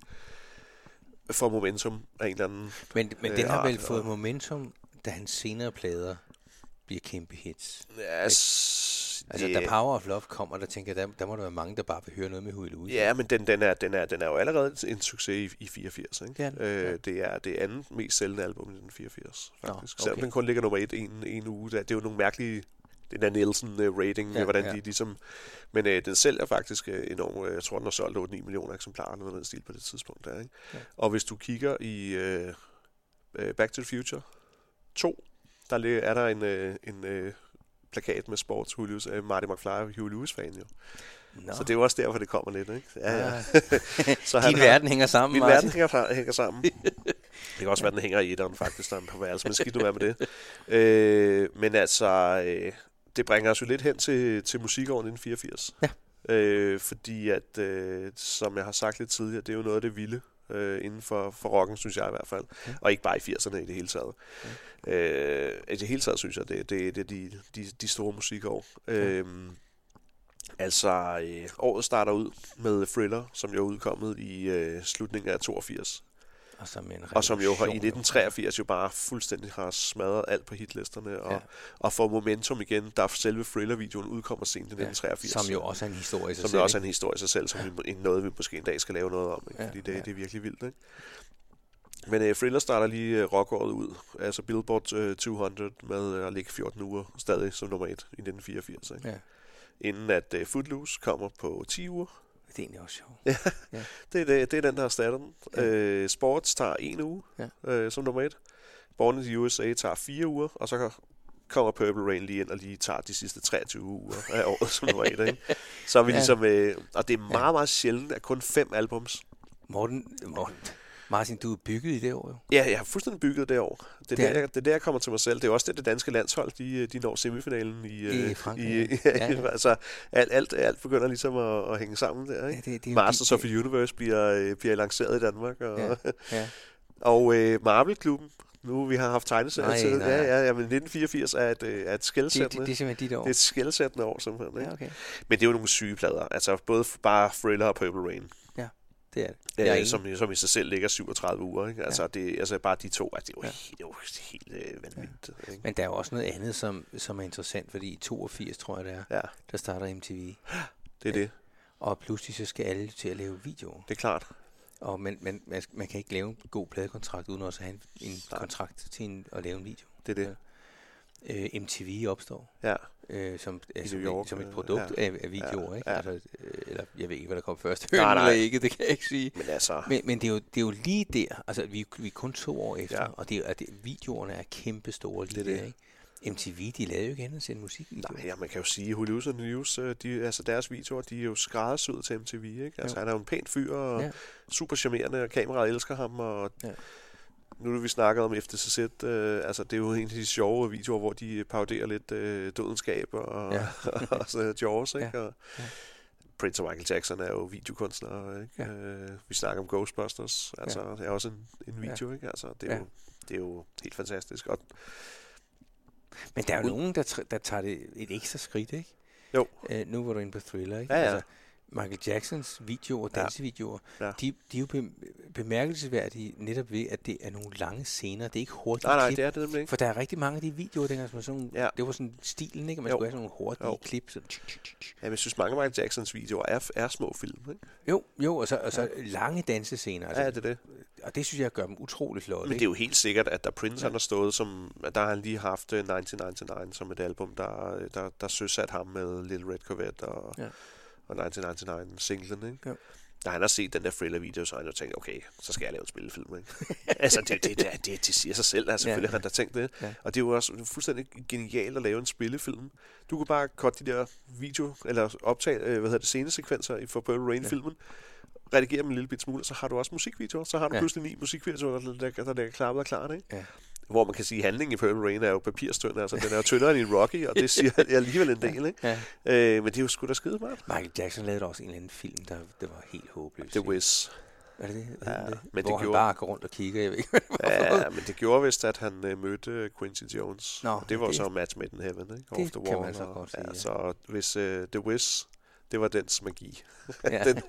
C: får momentum af en eller anden
A: Men, men
C: Øh,
A: den har vel
C: art, og-
A: fået momentum, da hans senere plader bliver kæmpe hits.
C: Ja, s-
A: Altså,
C: ja,
A: da Power of Love kommer, der tænker jeg, der, der må der være mange, der bare vil høre noget med Huey Lewis.
C: ja, men den, den, er, den, er, den er jo allerede en succes i, i 84, ikke?
A: Det er den,
C: øh,
A: ja.
C: det er det andet mest sælgende album i den 84,
A: Nå,
C: faktisk. Selvom
A: okay.
C: den kun ligger nummer et en, en uge, der, det er jo nogle mærkelige den der Nielsen-rating, ja,
A: Ja,
C: hvordan
A: ja.
C: de ligesom... Men øh, den sælger faktisk øh, enormt... øh, Jeg tror, den har solgt 8-9 millioner eksemplarer, eller noget i den stil på det tidspunkt der, ikke? Ja.
A: Ja.
C: Og hvis du kigger i øh, øh, Back to the Future 2, der lig- er der en, øh, en øh, plakat med sports Huey Lewis, øh, Marty McFly og Huey Lewis-fan, jo.
A: Nå.
C: Så det er jo også derfor, det kommer lidt, ikke? Ja, ja.
A: Ah.
C: Så
A: Din
C: har-
A: verden hænger sammen,
C: Min
A: Martin.
C: verden hænger, fra- hænger sammen. Det kan også være, den hænger i etteren, faktisk, der er på værelse, men skidt nu være med det. Øh, men altså, øh, det bringer os jo lidt hen til, til musikåret 1984.
A: Ja.
C: Øh, fordi at, øh, som jeg har sagt lidt tidligere, det er jo noget af det vilde øh, inden for, for rocken, synes jeg i hvert fald.
A: Ja.
C: Og ikke bare i 80'erne i det hele taget. Øh, I det hele taget, synes jeg, det, det, det er de, de, de store musikår. Øh, Altså, øh, året starter ud med Thriller, som jo er udkommet i øh, slutningen af 82.
A: Og som, en
C: Og som jo har, i
A: revolution.
C: 1983 jo bare fuldstændig har smadret alt på hitlisterne og, ja.
A: Ja.
C: og får momentum igen, da selve Thriller-videoen udkommer sent i 1983.
A: Som jo også er en historie i sig
C: som
A: selv,
C: jo også er
A: ikke?
C: en historie i sig selv, som vi, må- en- noget vi måske en dag skal lave noget om, ikke?
A: Ja,
C: fordi det,
A: ja.
C: det er virkelig vildt. Ikke? Men øh, Thriller starter lige øh, rockåret ud, altså Billboard øh, 200 med øh, at ligge 14 uger stadig som nummer 1 i 1984. Ikke?
A: Ja.
C: Inden at øh, Footloose kommer på 10 uger,
A: Det er egentlig også sjovt.
C: det er, det, det er den, der har startet den. Ja.
A: Ja.
C: Øh, sports tager en uge ja.
A: Ja.
C: øh, som nummer et. Born in the USA tager fire uger, og så kommer Purple Rain lige ind og lige tager de sidste 23 uger af året som nummer et. Ikke? Så er vi ja.
A: Ja.
C: ligesom... Øh, og det er meget, meget sjældent, at kun fem albums...
A: Morten, Morten, Martin, du er bygget i det år jo.
C: Ja, jeg har fuldstændig bygget det år. Det er,
A: Det er
C: der, jeg, det er der, jeg kommer til mig selv. Det er også det, det danske landshold, de, øh, de når semifinalen i... øh,
A: I Frankrig,
C: I, ja,
A: ja. Ja, ja.
C: Altså, alt, alt, alt begynder ligesom at, at hænge sammen der, ikke?
A: det, det er jo
C: Masters
A: dit-
C: of the Universe bliver, øh, bliver lanceret i Danmark, og...
A: Ja. Ja.
C: Og øh, Marvel-klubben, Nu vi har haft tegneserier
A: Nej,
C: til.
A: nej.
C: Ja, ja, ja, men 1984 er et, øh, er et
A: Det, det,
C: skældsættende.
A: det er simpelthen dit år.
C: Det er et skældsættende år, simpelthen. Ikke?
A: ja, okay.
C: Men det er jo nogle syge plader. Altså både f- bare Thriller og Purple Rain,
A: Det er det. Jeg er
C: øh,
A: enig.
C: som, som i sig selv ligger 37 uger. Ikke? Altså, ja. det, altså bare de to, altså, det er jo,
A: Ja.
C: ja. helt, det er jo helt øh, vanvittigt. Ja. Ikke?
A: Men der er jo også noget andet, som, som er interessant, fordi i 82, tror jeg det er,
C: ja,
A: der starter MTV.
C: det er det.
A: Og pludselig så skal alle til at lave videoer.
C: Det er klart.
A: Og man, man, man, man kan ikke lave en god pladekontrakt, uden også at have en, en
C: Nej.
A: kontrakt til en, at lave en video.
C: Det er det.
A: Øh, MTV opstår
C: Ja,
A: øh, som,
C: New
A: øh, som,
C: York,
A: et, som et
C: øh,
A: produkt
C: ja.
A: af, af videoer.
C: Ja,
A: Ikke?
C: ja.
A: Altså, øh, eller jeg ved ikke, hvad der kom først.
C: Nej,
A: Hønen
C: nej.
A: eller ikke, det kan jeg ikke sige.
C: men altså,
A: Men, men det, er jo, det er jo lige der, altså vi, vi er kun to år efter,
C: Ja.
A: ja. og det er, at det, videoerne er kæmpe store lige
C: Det er
A: der,
C: det.
A: ikke? MTV, de lavede jo ikke andet end at sende musik.
C: Nej, ja, man kan jo sige, Hulusa News, øh, de, altså deres videoer, de er jo skræddersyet til MTV, ikke? Altså,
A: Jo.
C: han er jo en pæn fyr, og ja.
A: Ja.
C: super charmerende, og kameraet elsker ham, og ja.
A: Ja.
C: nu er vi snakket om FTCZ, øh, altså, det er jo en af de sjove videoer, hvor de paroderer lidt øh, dødenskab og, ja.
A: Ja.
C: og så Jaws, ikke?
A: Ja.
C: Og,
A: Ja.
C: Prince og Michael Jackson er jo videokunstnere, ikke? Ja.
A: Ja.
C: Øh, vi snakker om Ghostbusters, altså, ja. det er også en, en
A: Ja.
C: video, ja. ikke? Altså, det er, ja.
A: Ja.
C: jo, det er jo helt fantastisk, og
A: Men der er jo
C: Ud-
A: nogen, der, tr- der tager det et ekstra skridt, ikke?
C: Jo.
A: Øh, nu var du inde på Thriller, ikke? Altså,
C: Ja, ja.
A: Michael Jacksons videoer,
C: Ja.
A: dansevideoer,
C: Ja.
A: ja. de, de er jo be- bemærkelsesværdige netop ved, at det er nogle lange scener. Det er ikke hurtigt
C: nej, nej,
A: klip.
C: det er det nemlig ikke.
A: For der er rigtig mange af de videoer, dengang, som er sådan,
C: Ja.
A: ja. det var sådan stilen, ikke? At man
C: Jo.
A: skulle have sådan nogle hurtige
C: Jo.
A: jo. klip. Sådan, tsk, tsk, tsk, tsk.
C: Ja, men jeg synes, mange af Michael Jacksons videoer er, er små film, ikke?
A: Jo, jo, og så, og så lange dansescener. Altså,
C: Ja, det er det.
A: Og det synes jeg gør dem utrolig flotte.
C: Men det
A: ikke?
C: er jo helt sikkert, at der Prince ja.
A: Ja.
C: han har stået som... at Der har han lige haft øh, 1999 som et album, der, øh, der, der søsat ham med Little Red Corvette og, ja.
A: Ja.
C: og 1999-singlen, ikke?
A: Jo.
C: Da han har set den der thriller-video, så har han jo tænkt, okay, så skal jeg lave en spillefilm, ikke? altså, det, det, det, det, det, det siger sig selv, altså,
A: Ja.
C: selvfølgelig har han da tænkt det.
A: Ja.
C: Og det er jo også fuldstændig genialt at lave en spillefilm. Du kunne bare korte de der video, eller optage, øh, hvad hedder det, scenesekvenser i- for Purple Rain-filmen, ja. redigere dem en lille bit smule, og så har du også musikvideoer. Så har du ja.
A: Ja.
C: pludselig ni musikvideoer, der, der, der, der ligger klappet og klart, ikke?
A: Ja.
C: Hvor man kan sige, at handlingen i Purple Rain er jo papirstønd, altså den er jo tyndere end i Rocky, og det siger alligevel en del, ikke?
A: Ja.
C: Øh, men det er jo sgu da skide meget.
A: Michael Jackson lavede da også en eller anden film, der, der var helt håbløs.
C: The
A: ikke?
C: Wiz.
A: Er det det?
C: Ja,
A: Ja, det?
C: men det
A: Men Hvor det han
C: gjorde-
A: bare går rundt og kigger, jeg ved ikke, hvad det var. for noget.
C: Ja, men det gjorde vist, at han øh, mødte Quincy Jones.
A: Nå,
C: og det var det,
A: det-
C: så Match Made in Heaven, ikke?
A: det
C: Off the
A: kan
C: Wall,
A: man så
C: og-
A: godt sige,
C: Ja,
A: ja.
C: så hvis øh, The Wiz, det var dens magi,
A: Ja.
C: den,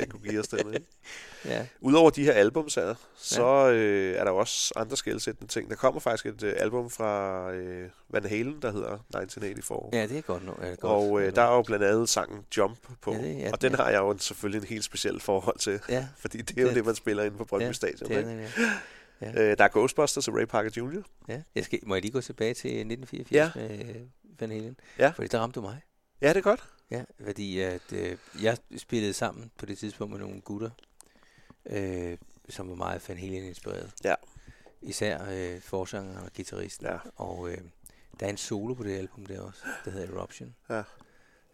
C: den kunne give os den, ikke?
A: ja.
C: Udover de her album, så, så øh, er der jo også andre skældsættende ting. Der kommer faktisk et øh, album fra øh, Van Halen, der hedder 1984.
A: ja, det er godt nu. Er det godt.
C: Og øh, der er jo blandt andet sangen Jump på. Ja,
A: Ja, det
C: det,
A: er
C: ja, og
A: den,
C: den
A: ja.
C: har jeg jo en, selvfølgelig en helt speciel forhold til.
A: Ja,
C: Fordi det er jo
A: Ja.
C: det, man spiller inde på Brøndby
A: Ja,
C: ja, Stadion.
A: det er
C: Ikke?
A: den, ja.
C: Øh, der er Ghostbusters og Ray Parker Jr.
A: ja. Jeg skal, må jeg lige gå tilbage til 1984
C: Ja.
A: ja. med øh, Van Halen?
C: Ja.
A: Fordi der ramte du mig.
C: Ja, det er godt.
A: Ja, fordi at, øh, jeg spillede sammen på det tidspunkt med nogle gutter, øh, som var meget Van Halen inspireret.
C: Ja.
A: Især øh, forsangeren og guitaristen.
C: Ja.
A: Og øh, der er en solo på det album der også, der hedder Eruption.
C: Ja.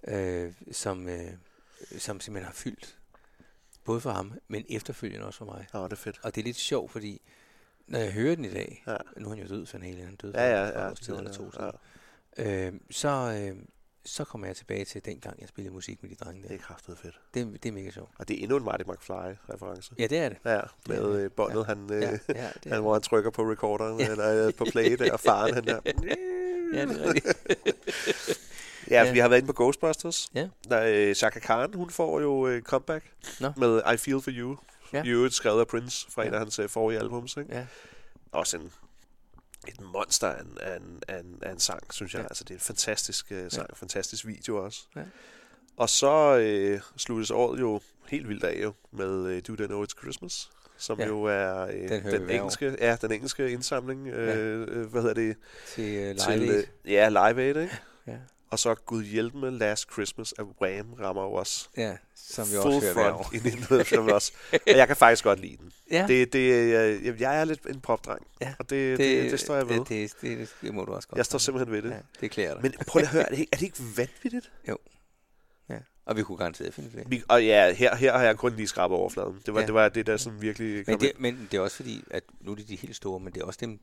A: Øh, som, øh, som simpelthen har fyldt, både for ham, men efterfølgende også for mig.
C: Åh, det er fedt.
A: Og det er lidt sjovt, fordi når jeg hører den i dag,
C: Ja.
A: nu er han jo død, Van Halen, han døde
C: Ja, ja,
A: for, for
C: ja.
A: et års tid eller
C: ja,
A: to siden,
C: ja.
A: Øh, så, øh, så kommer jeg tilbage til dengang, jeg spillede musik med de drenge
C: Det
A: der.
C: er kraftedet fedt.
A: Det, det er mega sjovt.
C: Og det er endnu en Marty McFly-reference.
A: Ja, det er det.
C: Ja, med øh, båndet,
A: Ja.
C: han, øh,
A: Ja,
C: ja,
A: ja, det
C: han,
A: er,
C: hvor han trykker på recorderen,
A: Ja.
C: eller øh, på play der, og faren, han der.
A: ja, det er rigtigt.
C: Ja, ja,
A: Ja.
C: vi har været inde på Ghostbusters.
A: Ja.
C: Der, øh, Chaka Khan, hun får jo øh, comeback
A: Nå.
C: med I Feel For You. Ja.
A: Ja.
C: I øvrigt skrevet af Prince fra
A: Ja.
C: ja. en af hans øh, forrige albums. Ikke?
A: Ja.
C: Også en, et monster af en, af en, af en, af en sang, synes jeg. Ja.
A: Ja.
C: Altså, det er en fantastisk øh, sang, ja. fantastisk video også.
A: Ja.
C: Og så øh, sluttes året jo helt vildt af jo, med øh, Do They Know It's Christmas, som ja.
A: Ja.
C: jo er øh,
A: Den hører
C: den,
A: vi
C: den,
A: hver
C: engelske, ja, den engelske indsamling. Øh,
A: Ja.
C: øh, hvad hedder det?
A: Til uh,
C: Til,
A: lejlighed.
C: øh, ja, Live Aid, ikke?
A: Ja.
C: Og så Gud hjælp med Last Christmas af Wham rammer jo også
A: ja, som vi
C: full
A: også hører hver år.
C: front i 1985. og jeg kan faktisk godt lide den.
A: Ja,
C: Det, det, jeg, jeg er lidt en popdreng,
A: Ja,
C: og det, det, det, det står jeg ved.
A: Det, det, det, det må du også godt.
C: Jeg står simpelthen ved det.
A: Ja, det klæder dig.
C: Men prøv lige at høre, er det, ikke- er det ikke vanvittigt?
A: ja. Og vi kunne garanteret finde flere.
C: Vi, og ja, her, her har jeg kun lige skrabet overfladen. Det var, ja.
A: Ja.
C: det, var det, der sådan virkelig kom
A: Men
C: det,
A: det, men det er også fordi, at nu er det de helt store, men det er også dem,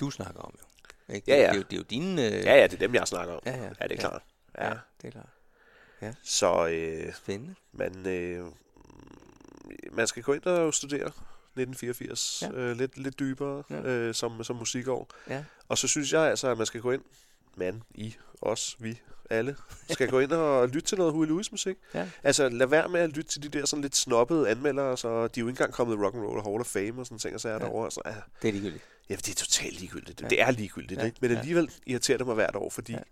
A: du snakker om jo. Ikke?
C: Ja,
A: Det,
C: ja.
A: Det, er jo, det er jo dine... øh,
C: Ja, ja, det er dem, jeg snakker om. Ja,
A: ja, ja.
C: ja det er klart. Ja.
A: Ja, det er klart.
C: Så øh,
A: Spændende.
C: man, øh, man skal gå ind og studere 1984.
A: Ja.
C: Ja. Øh, lidt, lidt dybere
A: Ja.
C: ja. øh, som, som musikår.
A: Ja.
C: Og så synes jeg altså, at man skal gå ind, man, I, os, vi, alle, skal gå ind og lytte til noget Huey Lewis musik.
A: Ja.
C: Altså lad være med at lytte til de der sådan lidt snobbede anmeldere, så de er jo ikke engang kommet i Rock'n'Roll Hall of Fame og sådan ting og sager
A: Ja.
C: ja. derovre. Altså, ja,
A: Det er ligegyldigt.
C: ja, det er totalt ligegyldigt.
A: Ja.
C: Ja. Det er ligegyldigt,
A: Ja,
C: ja. ikke? Men
A: ja.
C: alligevel irriterer det mig hvert år, fordi
A: Ja.
C: ja.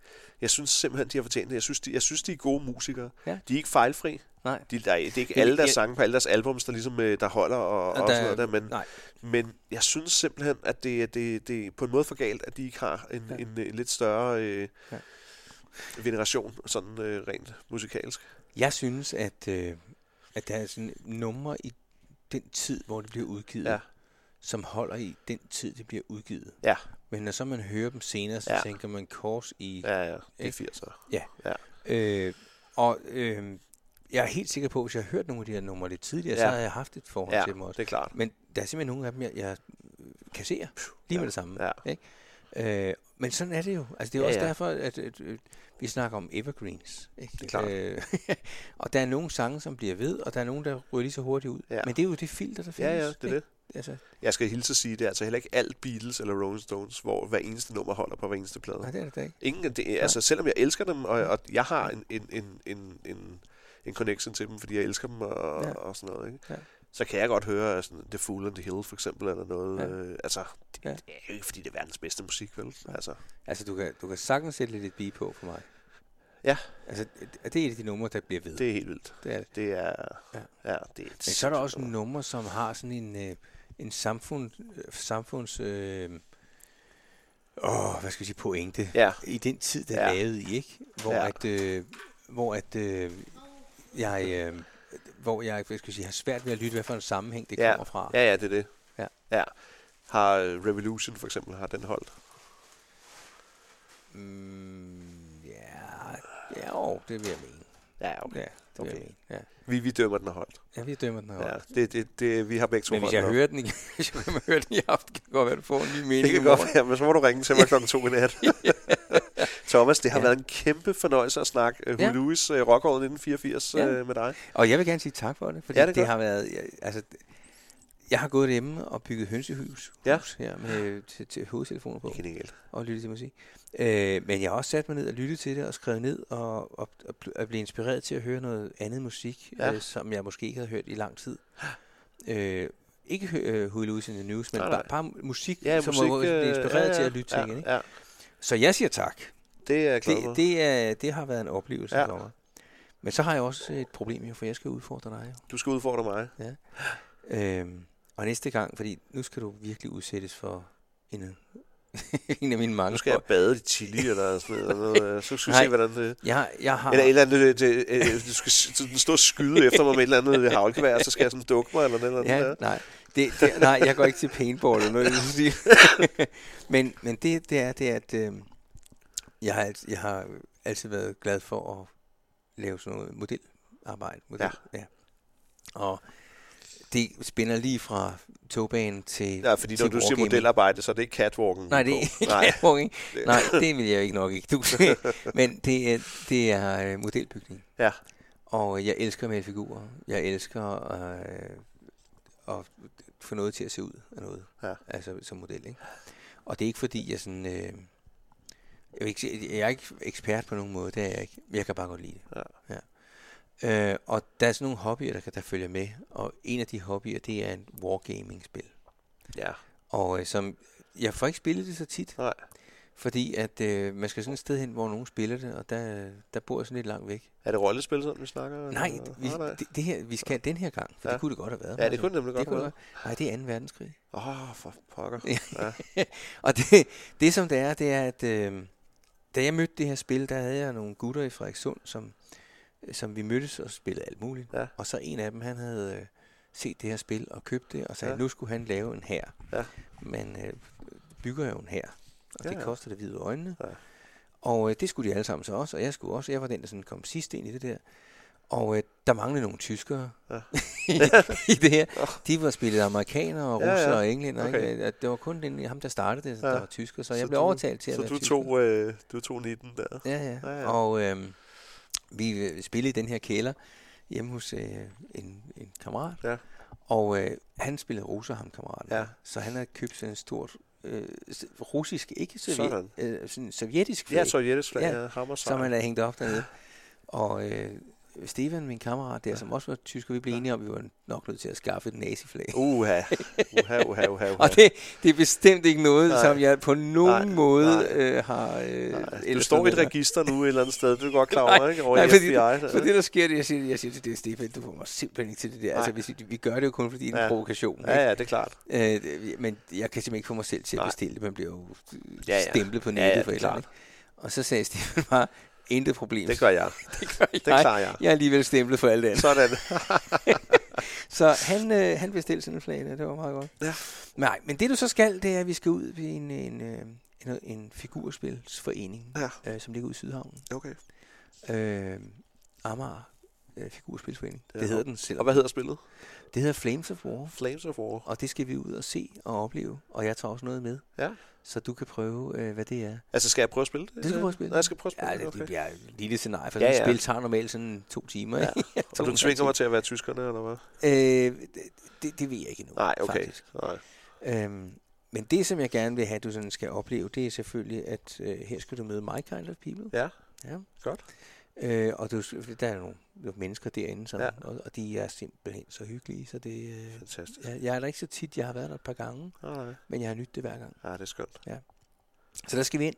C: jeg synes simpelthen, de har fortjent det. Jeg synes, de, jeg synes, de er gode musikere.
A: Ja.
C: De er ikke fejlfri.
A: Nej.
C: De, der, er- det er ikke
A: Men
C: alle deres
A: jeg-
C: sange på alle deres albums, der ligesom øh, der holder og, og,
A: Og
C: og
A: der-
C: sådan noget der, men,
A: Nej,
C: men jeg synes simpelthen, at det, er- det, det er på en måde for galt, at de ikke har en,
A: Ja.
C: ja. en, en lidt større øh,
A: Ja.
C: ja. veneration, sådan øh, rent musikalsk.
A: jeg synes, at, øh, at der er sådan numre i den tid, hvor det bliver udgivet,
C: Ja.
A: som holder i den tid, det bliver udgivet.
C: Ja.
A: Men når så man hører dem senere, så ja.
C: Ja.
A: tænker man kors i...
C: Ja, ja, det
A: Ikke?
C: er 80'er.
A: Øh, og øh, jeg er helt sikker på, at hvis jeg har hørt nogle af de her numre lidt tidligere, ja. så
C: Ja.
A: har jeg haft et forhold
C: Ja,
A: til dem også.
C: det er klart.
A: Men der er simpelthen nogle af dem, jeg, jeg kasserer lige
C: ja.
A: med det samme.
C: Ja.
A: Øh, men sådan er det jo. Altså, det er jo ja,
C: Ja,
A: også ja.
C: ja.
A: derfor, at, at, at vi snakker om evergreens. Ikke?
C: er klart.
A: Øh, og der er nogle sange, som bliver ved, og der er nogle, der ryger lige så hurtigt ud.
C: Ja.
A: Men det er jo det filter, der findes.
C: Ja, ja, det er
A: ikke?
C: det.
A: Altså,
C: Jeg skal hilse at sige, det er altså heller ikke alt Beatles eller Rolling Stones, hvor hver eneste nummer holder på hver eneste plade.
A: nej, det er det da ikke.
C: Ingen, af det, altså, selvom jeg elsker dem, og, og jeg har en, en, en, en, en, en connection til dem, fordi jeg elsker dem og,
A: Ja.
C: ja. og sådan noget, ikke?
A: Ja.
C: så kan jeg godt høre sådan, The Fool and the Hill, for eksempel, eller noget.
A: Ja.
C: Ja. Øh, altså, det,
A: Ja.
C: ja. det er jo ikke, fordi det er verdens bedste musik, vel?
A: Nej.
C: Altså,
A: Altså, du kan, du kan sagtens sætte lidt bi på for mig.
C: Ja.
A: Altså, det det er et af de numre, der bliver ved.
C: det er helt vildt.
A: det er det.
C: Det er...
A: Ja.
C: Ja, ja det er et
A: Men så er der også
C: sindssygt
A: numre, som har sådan en, øh, en samfund, øh, samfunds... Øh, åh, hvad skal vi sige, pointe.
C: Ja.
A: I den tid, der ja.
C: Ja.
A: lavede I, ikke? Hvor ja.
C: Ja.
A: at, øh, hvor at øh, jeg... Øh, hvor jeg hvad skal jeg sige, har svært ved at lytte, hvad for en sammenhæng det
C: Ja.
A: kommer fra.
C: Ja, ja, det er det.
A: Ja.
C: ja. Har øh, Revolution, for eksempel, har den holdt?
A: Mm, ja, ja jo, det vil jeg mene.
C: Ja, okay.
A: Ja, det vil jeg
C: Okay.
A: mene. Ja.
C: Vi, vi dømmer, den har holdt.
A: ja, vi dømmer den her. Ja.
C: Ja, det, det, det, vi har begge to
A: Men hvis
C: holdt
A: jeg
C: den op.
A: hører den, igen, hvis jeg hører den i aften, kan det godt være, at du får en ny mening
C: Det kan
A: i
C: godt
A: morgen.
C: være, men så må du ringe til mig klokken to i nat. Thomas, det har
A: Ja.
C: ja. været en kæmpe fornøjelse at snakke uh,
A: Ja.
C: ja. Louis uh, Rockåret 1984
A: Ja.
C: ja. uh, med dig.
A: Og jeg vil gerne sige tak for det, fordi ja,
C: Ja,
A: det,
C: det
A: det
C: er
A: har været... Jeg, altså, jeg har gået hjemme og bygget hønsehus
C: Ja.
A: hus her med til, til hovedtelefoner på
C: Genialt.
A: og lyttet til musik. Øh, men jeg har også sat mig ned og lyttet til det og skrevet ned og, og, og, bl- og blev inspireret til at høre noget andet musik, ja.
C: Ja.
A: øh, som jeg måske ikke havde hørt i lang tid. Øh, ikke hø- øh, Huey Lewis in the News, men
C: Nej,
A: bare,
C: nej.
A: bare musik,
C: Ja,
A: som
C: musik,
A: man blev
C: øh,
A: inspireret
C: ja,
A: til
C: ja,
A: at lytte
C: ja,
A: til. igen, Ikke?
C: Ja,
A: Så jeg siger tak.
C: det er jeg glad for.
A: Det, det, er, det har været en oplevelse
C: Ja.
A: for mig. Men så har jeg også et problem jo, for jeg skal udfordre dig jo.
C: Du skal udfordre mig.
A: Øhm, og næste gang, fordi nu skal du virkelig udsættes for en, en af mine mange...
C: Nu skal jeg bade i chili eller sådan noget, eller noget. øh, Så skal vi
A: Nej. Ah.
C: se, hvordan det...
A: Jeg, jeg har...
C: Eller et eller andet, det, det, øh, du skal s- sådan stå og skyde efter mig med et eller andet øh, havlgevær, og så skal jeg sådan dukke mig eller noget. Eller
A: ja,
C: noget.
A: nej, det, det, nej, jeg går ikke til paintball eller noget, jeg vil sige. men, men det, det er, det er, at øh, jeg, har, alt- jeg har altid været glad for at lave sådan noget modelarbejde. Model, ja. ja. Og det spænder lige fra togbanen til...
C: Ja, fordi når
A: til
C: du siger
A: wargaming.
C: modelarbejde, så er det ikke catwalken.
A: Nej, det er
C: på.
A: ikke
C: Nej,
A: catwalk, ikke? Nej, det vil jeg ikke nok ikke. Du, men det er, det er øh, modelbygning.
C: Ja.
A: Og jeg elsker at male figurer. Jeg elsker øh, at få noget til at se ud af noget.
C: Ja.
A: Altså som model, ikke? Og det er ikke fordi, jeg sådan... Øh, jeg, vil ikke, sige- jeg er ikke ekspert på nogen måde, det er jeg ikke. Men jeg kan bare godt lide det. Ja. Ja. Øh, og der er sådan nogle hobbyer, der, kan- der følger med. Og en af de hobbyer, det er en wargaming-spil.
C: ja.
A: Og øh, som, jeg får ikke spillet det så tit.
C: Nej.
A: Fordi at øh, man skal sådan et sted hen, hvor nogen spiller det, og der, der bor jeg sådan lidt langt væk.
C: Er det rollespil, som vi snakker?
A: Nej,
C: eller?
A: vi,
C: nej.
A: det, det her, vi skal den her gang, for ja.
C: Ja.
A: det kunne det godt have været. Altså,
C: Ja, det kunne det nemlig
A: det
C: godt
A: kunne det
C: være.
A: godt. Nej, det er 2. verdenskrig.
C: Åh, oh, for pokker.
A: Ja.
C: Ja.
A: og det, det som det er, det er, at øh, da jeg mødte det her spil, der havde jeg nogle gutter i Frederikssund, som, som vi mødtes og spillede alt muligt.
C: Ja.
A: Og så en af dem, han havde øh, set det her spil og købt det, og sagde,
C: Ja.
A: ja. nu skulle han lave en her.
C: Ja.
A: Man øh, bygger jo en her, og ja,
C: Ja,
A: det
C: ja.
A: koster det hvide øjnene.
C: Ja.
A: Og øh, det skulle de alle sammen så også, og jeg skulle også. Jeg var den, der sådan kom sidst ind i det der. Og øh, der manglede nogle tyskere ja.
C: Ja.
A: i det her. De var spillet amerikanere og
C: Ja, ja.
A: russere ja, ja. og englænder. Okay.
C: Okay.
A: Ikke? At Det var kun den, ham, der startede det, der
C: Ja.
A: var tysker. Så, så jeg
C: Så
A: blev
C: du-
A: overtalt til at
C: Så
A: være
C: du
A: tysker.
C: tog, øh, du tog 19 der.
A: Ja, ja. ja,
C: Ja,
A: ja.
C: ja.
A: Og øh, vi øh, spillede i den her kælder hjemme hos øh, en, en kammerat.
C: Ja.
A: Og øh, han spillede russer, ham kammeraten.
C: Ja.
A: Så han havde købt sådan en stort øh, s- russisk, ikke
C: Sådan.
A: sovjet, øh, sådan sovjetisk flag,
C: Ja, sovjetisk flag,
A: Ja,
C: ja,
A: som han
C: hammersvej.
A: havde hængt op dernede. Og øh, Stefan, min kammerat der, ja. som også var tysker, vi blev enige om, at vi var nok nødt til at skaffe et naziflag.
C: Uha, uha, uha, uha, uha.
A: Og det, det er bestemt ikke noget,
C: Nej.
A: nej. som jeg på nogen
C: Nej,
A: nej. måde
C: nej.
A: Øh, har... Øh,
C: Nej, altså, du
A: elsket
C: står i et
A: med.
C: register nu et eller andet sted, det er du godt klar over, ikke? Over
A: Nej,
C: i
A: fordi,
C: FBI. der.
A: for det, der sker, det jeg siger, jeg siger til det, Stefan, du kommer simpelthen ikke til det der.
C: Nej.
A: Altså, hvis vi, vi gør det jo kun, fordi det er en
C: Ja.
A: provokation.
C: Ja, ja, det er klart.
A: ikke? Øh, det- men jeg kan simpelthen ikke få mig selv til at
C: Nej.
A: bestille det. Man bliver jo
C: Ja,
A: ja,
C: ja.
A: ja. stemplet på
C: Ja,
A: nettet
C: ja,
A: for et
C: det er
A: eller
C: klart.
A: andet. Og så sagde Stefan bare, intet problem.
C: Det gør jeg.
A: det gør jeg.
C: Det klarer jeg.
A: Jeg er alligevel stemplet for alt andet.
C: Sådan.
A: Så han, øh, han bestilte sådan en flag, der. det var meget godt.
C: Ja.
A: Nej, men det du så skal, det er, at vi skal ud ved en, en, øh, en, en figurspilsforening,
C: Ja,
A: øh, som ligger ude i Sydhavnen.
C: okay.
A: Øh, Amager øh, Figurspilsforening.
C: Ja.
A: Det hedder den selv.
C: Og hvad hedder spillet?
A: Det hedder Flames of War,
C: Flames of War.
A: og det skal vi ud og se og opleve. Og jeg tager også noget med,
C: Ja.
A: så du kan prøve, øh, hvad det er.
C: Altså, skal jeg prøve at spille det?
A: Du skal prøve at spille
C: Nej, jeg skal prøve at spille
A: Ja,
C: det,
A: det, det
C: okay.
A: bliver et lille scenarie, for
C: Ja,
A: ja,
C: ja.
A: ja. spil tager normalt sådan to timer.
C: Ja.
A: Ja.
C: Og du tvinger mig til at være tyskerne, eller
A: Øh,
C: hvad?
A: det- det, det ved jeg ikke endnu,
C: Nej, okay.
A: faktisk.
C: Nej.
A: Øhm, men det, som jeg gerne vil have, du sådan skal opleve, det er selvfølgelig, at øh, her skal du møde my kind of people.
C: Ja.
A: ja.
C: Godt.
A: Øh, og du, der er nogle, nogle mennesker derinde, som,
C: Ja.
A: ja. og, og de er simpelthen så hyggelige, så det... Øh,
C: Fantastisk.
A: jeg, jeg er der ikke så tit, jeg har været der et par gange,
C: Nej,
A: men jeg har nydt det hver gang.
C: ja, det er skønt.
A: Så der skal vi ind,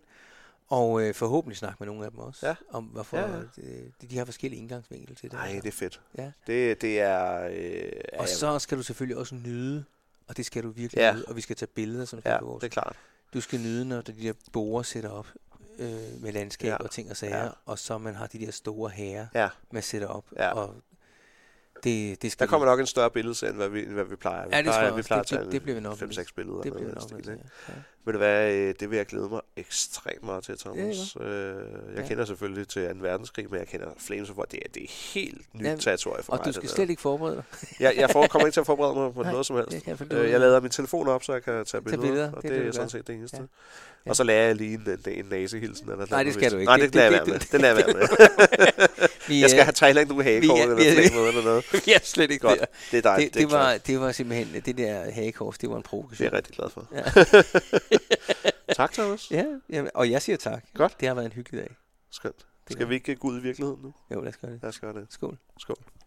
A: og øh, forhåbentlig snakke med nogle af dem også,
C: Ja.
A: om hvorfor
C: Ja, ja.
A: Øh, de, de har forskellige indgangsvinkel til det.
C: Nej, det er fedt.
A: Ja.
C: Det, det er... Øh,
A: Og så skal du selvfølgelig også nyde, og det skal du virkelig
C: Ja.
A: ja. nyde, og vi skal tage billeder, som
C: Ja,
A: ja, vores
C: det er klart.
A: du skal nyde, når de der borer sætter op øh, med landskab
C: Ja.
A: ja. og ting og sager,
C: Ja.
A: ja. og så man har de der store herrer,
C: Ja.
A: man sætter op.
C: Ja.
A: Og det, det skal
C: Der kommer nok en større billede end hvad vi, end hvad vi plejer. Vi
A: Ja, det tror
C: plejer,
A: jeg
C: vi
A: også.
C: plejer
A: Det- det- det bliver vi nok nødt-
C: 5-6 billeder.
A: det bliver
C: eller
A: nok
C: noget i
A: nødt
C: den stil,
A: til.
C: ikke?
A: Ja.
C: Ved du hvad, øh, det vil jeg glæde mig ekstremt meget til,
A: Ja, ikke
C: Thomas. Øh, jeg
A: Ja.
C: kender selvfølgelig til 2. verdenskrig, men jeg kender Flames of War. Det er, det er helt nyt
A: Ja,
C: territorie for
A: Og
C: mig.
A: du
C: det
A: skal
C: der.
A: slet ikke forberede dig.
C: Jeg, jeg for, kommer ikke til at forberede mig på
A: Nej,
C: noget som helst.
A: Jeg, kan finde ud
C: Øh,
A: af det.
C: jeg lader min telefon op, så jeg kan tage billeder,
A: billeder, det
C: og det,
A: er det,
C: er
A: du
C: sådan
A: gør.
C: set det eneste.
A: Ja.
C: Og så lærer jeg lige en, en, en nasehilsen. Eller
A: Nej, det skal du ikke.
C: Nej, det,
A: Det-
C: det, lader
A: det-
C: jeg være
A: det-
C: med. Det lader jeg være med.
A: Vi,
C: Jeg skal
A: er-
C: have Thailand nu hagekort
A: vi er-
C: eller
A: vi er-
C: flækmåde eller noget.
A: vi er slet ikke
C: Godt.
A: der.
C: Det er dejligt.
A: Det, det, var, det var simpelthen, det der hagekors, det var en
C: det er
A: provokation.
C: jeg rigtig glad for.
A: Ja.
C: tak, Thomas.
A: Ja, jamen, og jeg siger tak.
C: Godt.
A: Det har været en hyggelig dag.
C: Skønt.
A: Det
C: Skal
A: er-
C: vi ikke gå ud i virkeligheden nu?
A: Jo, lad os gøre det.
C: Lad os gøre det.
A: Skål.
C: Skål.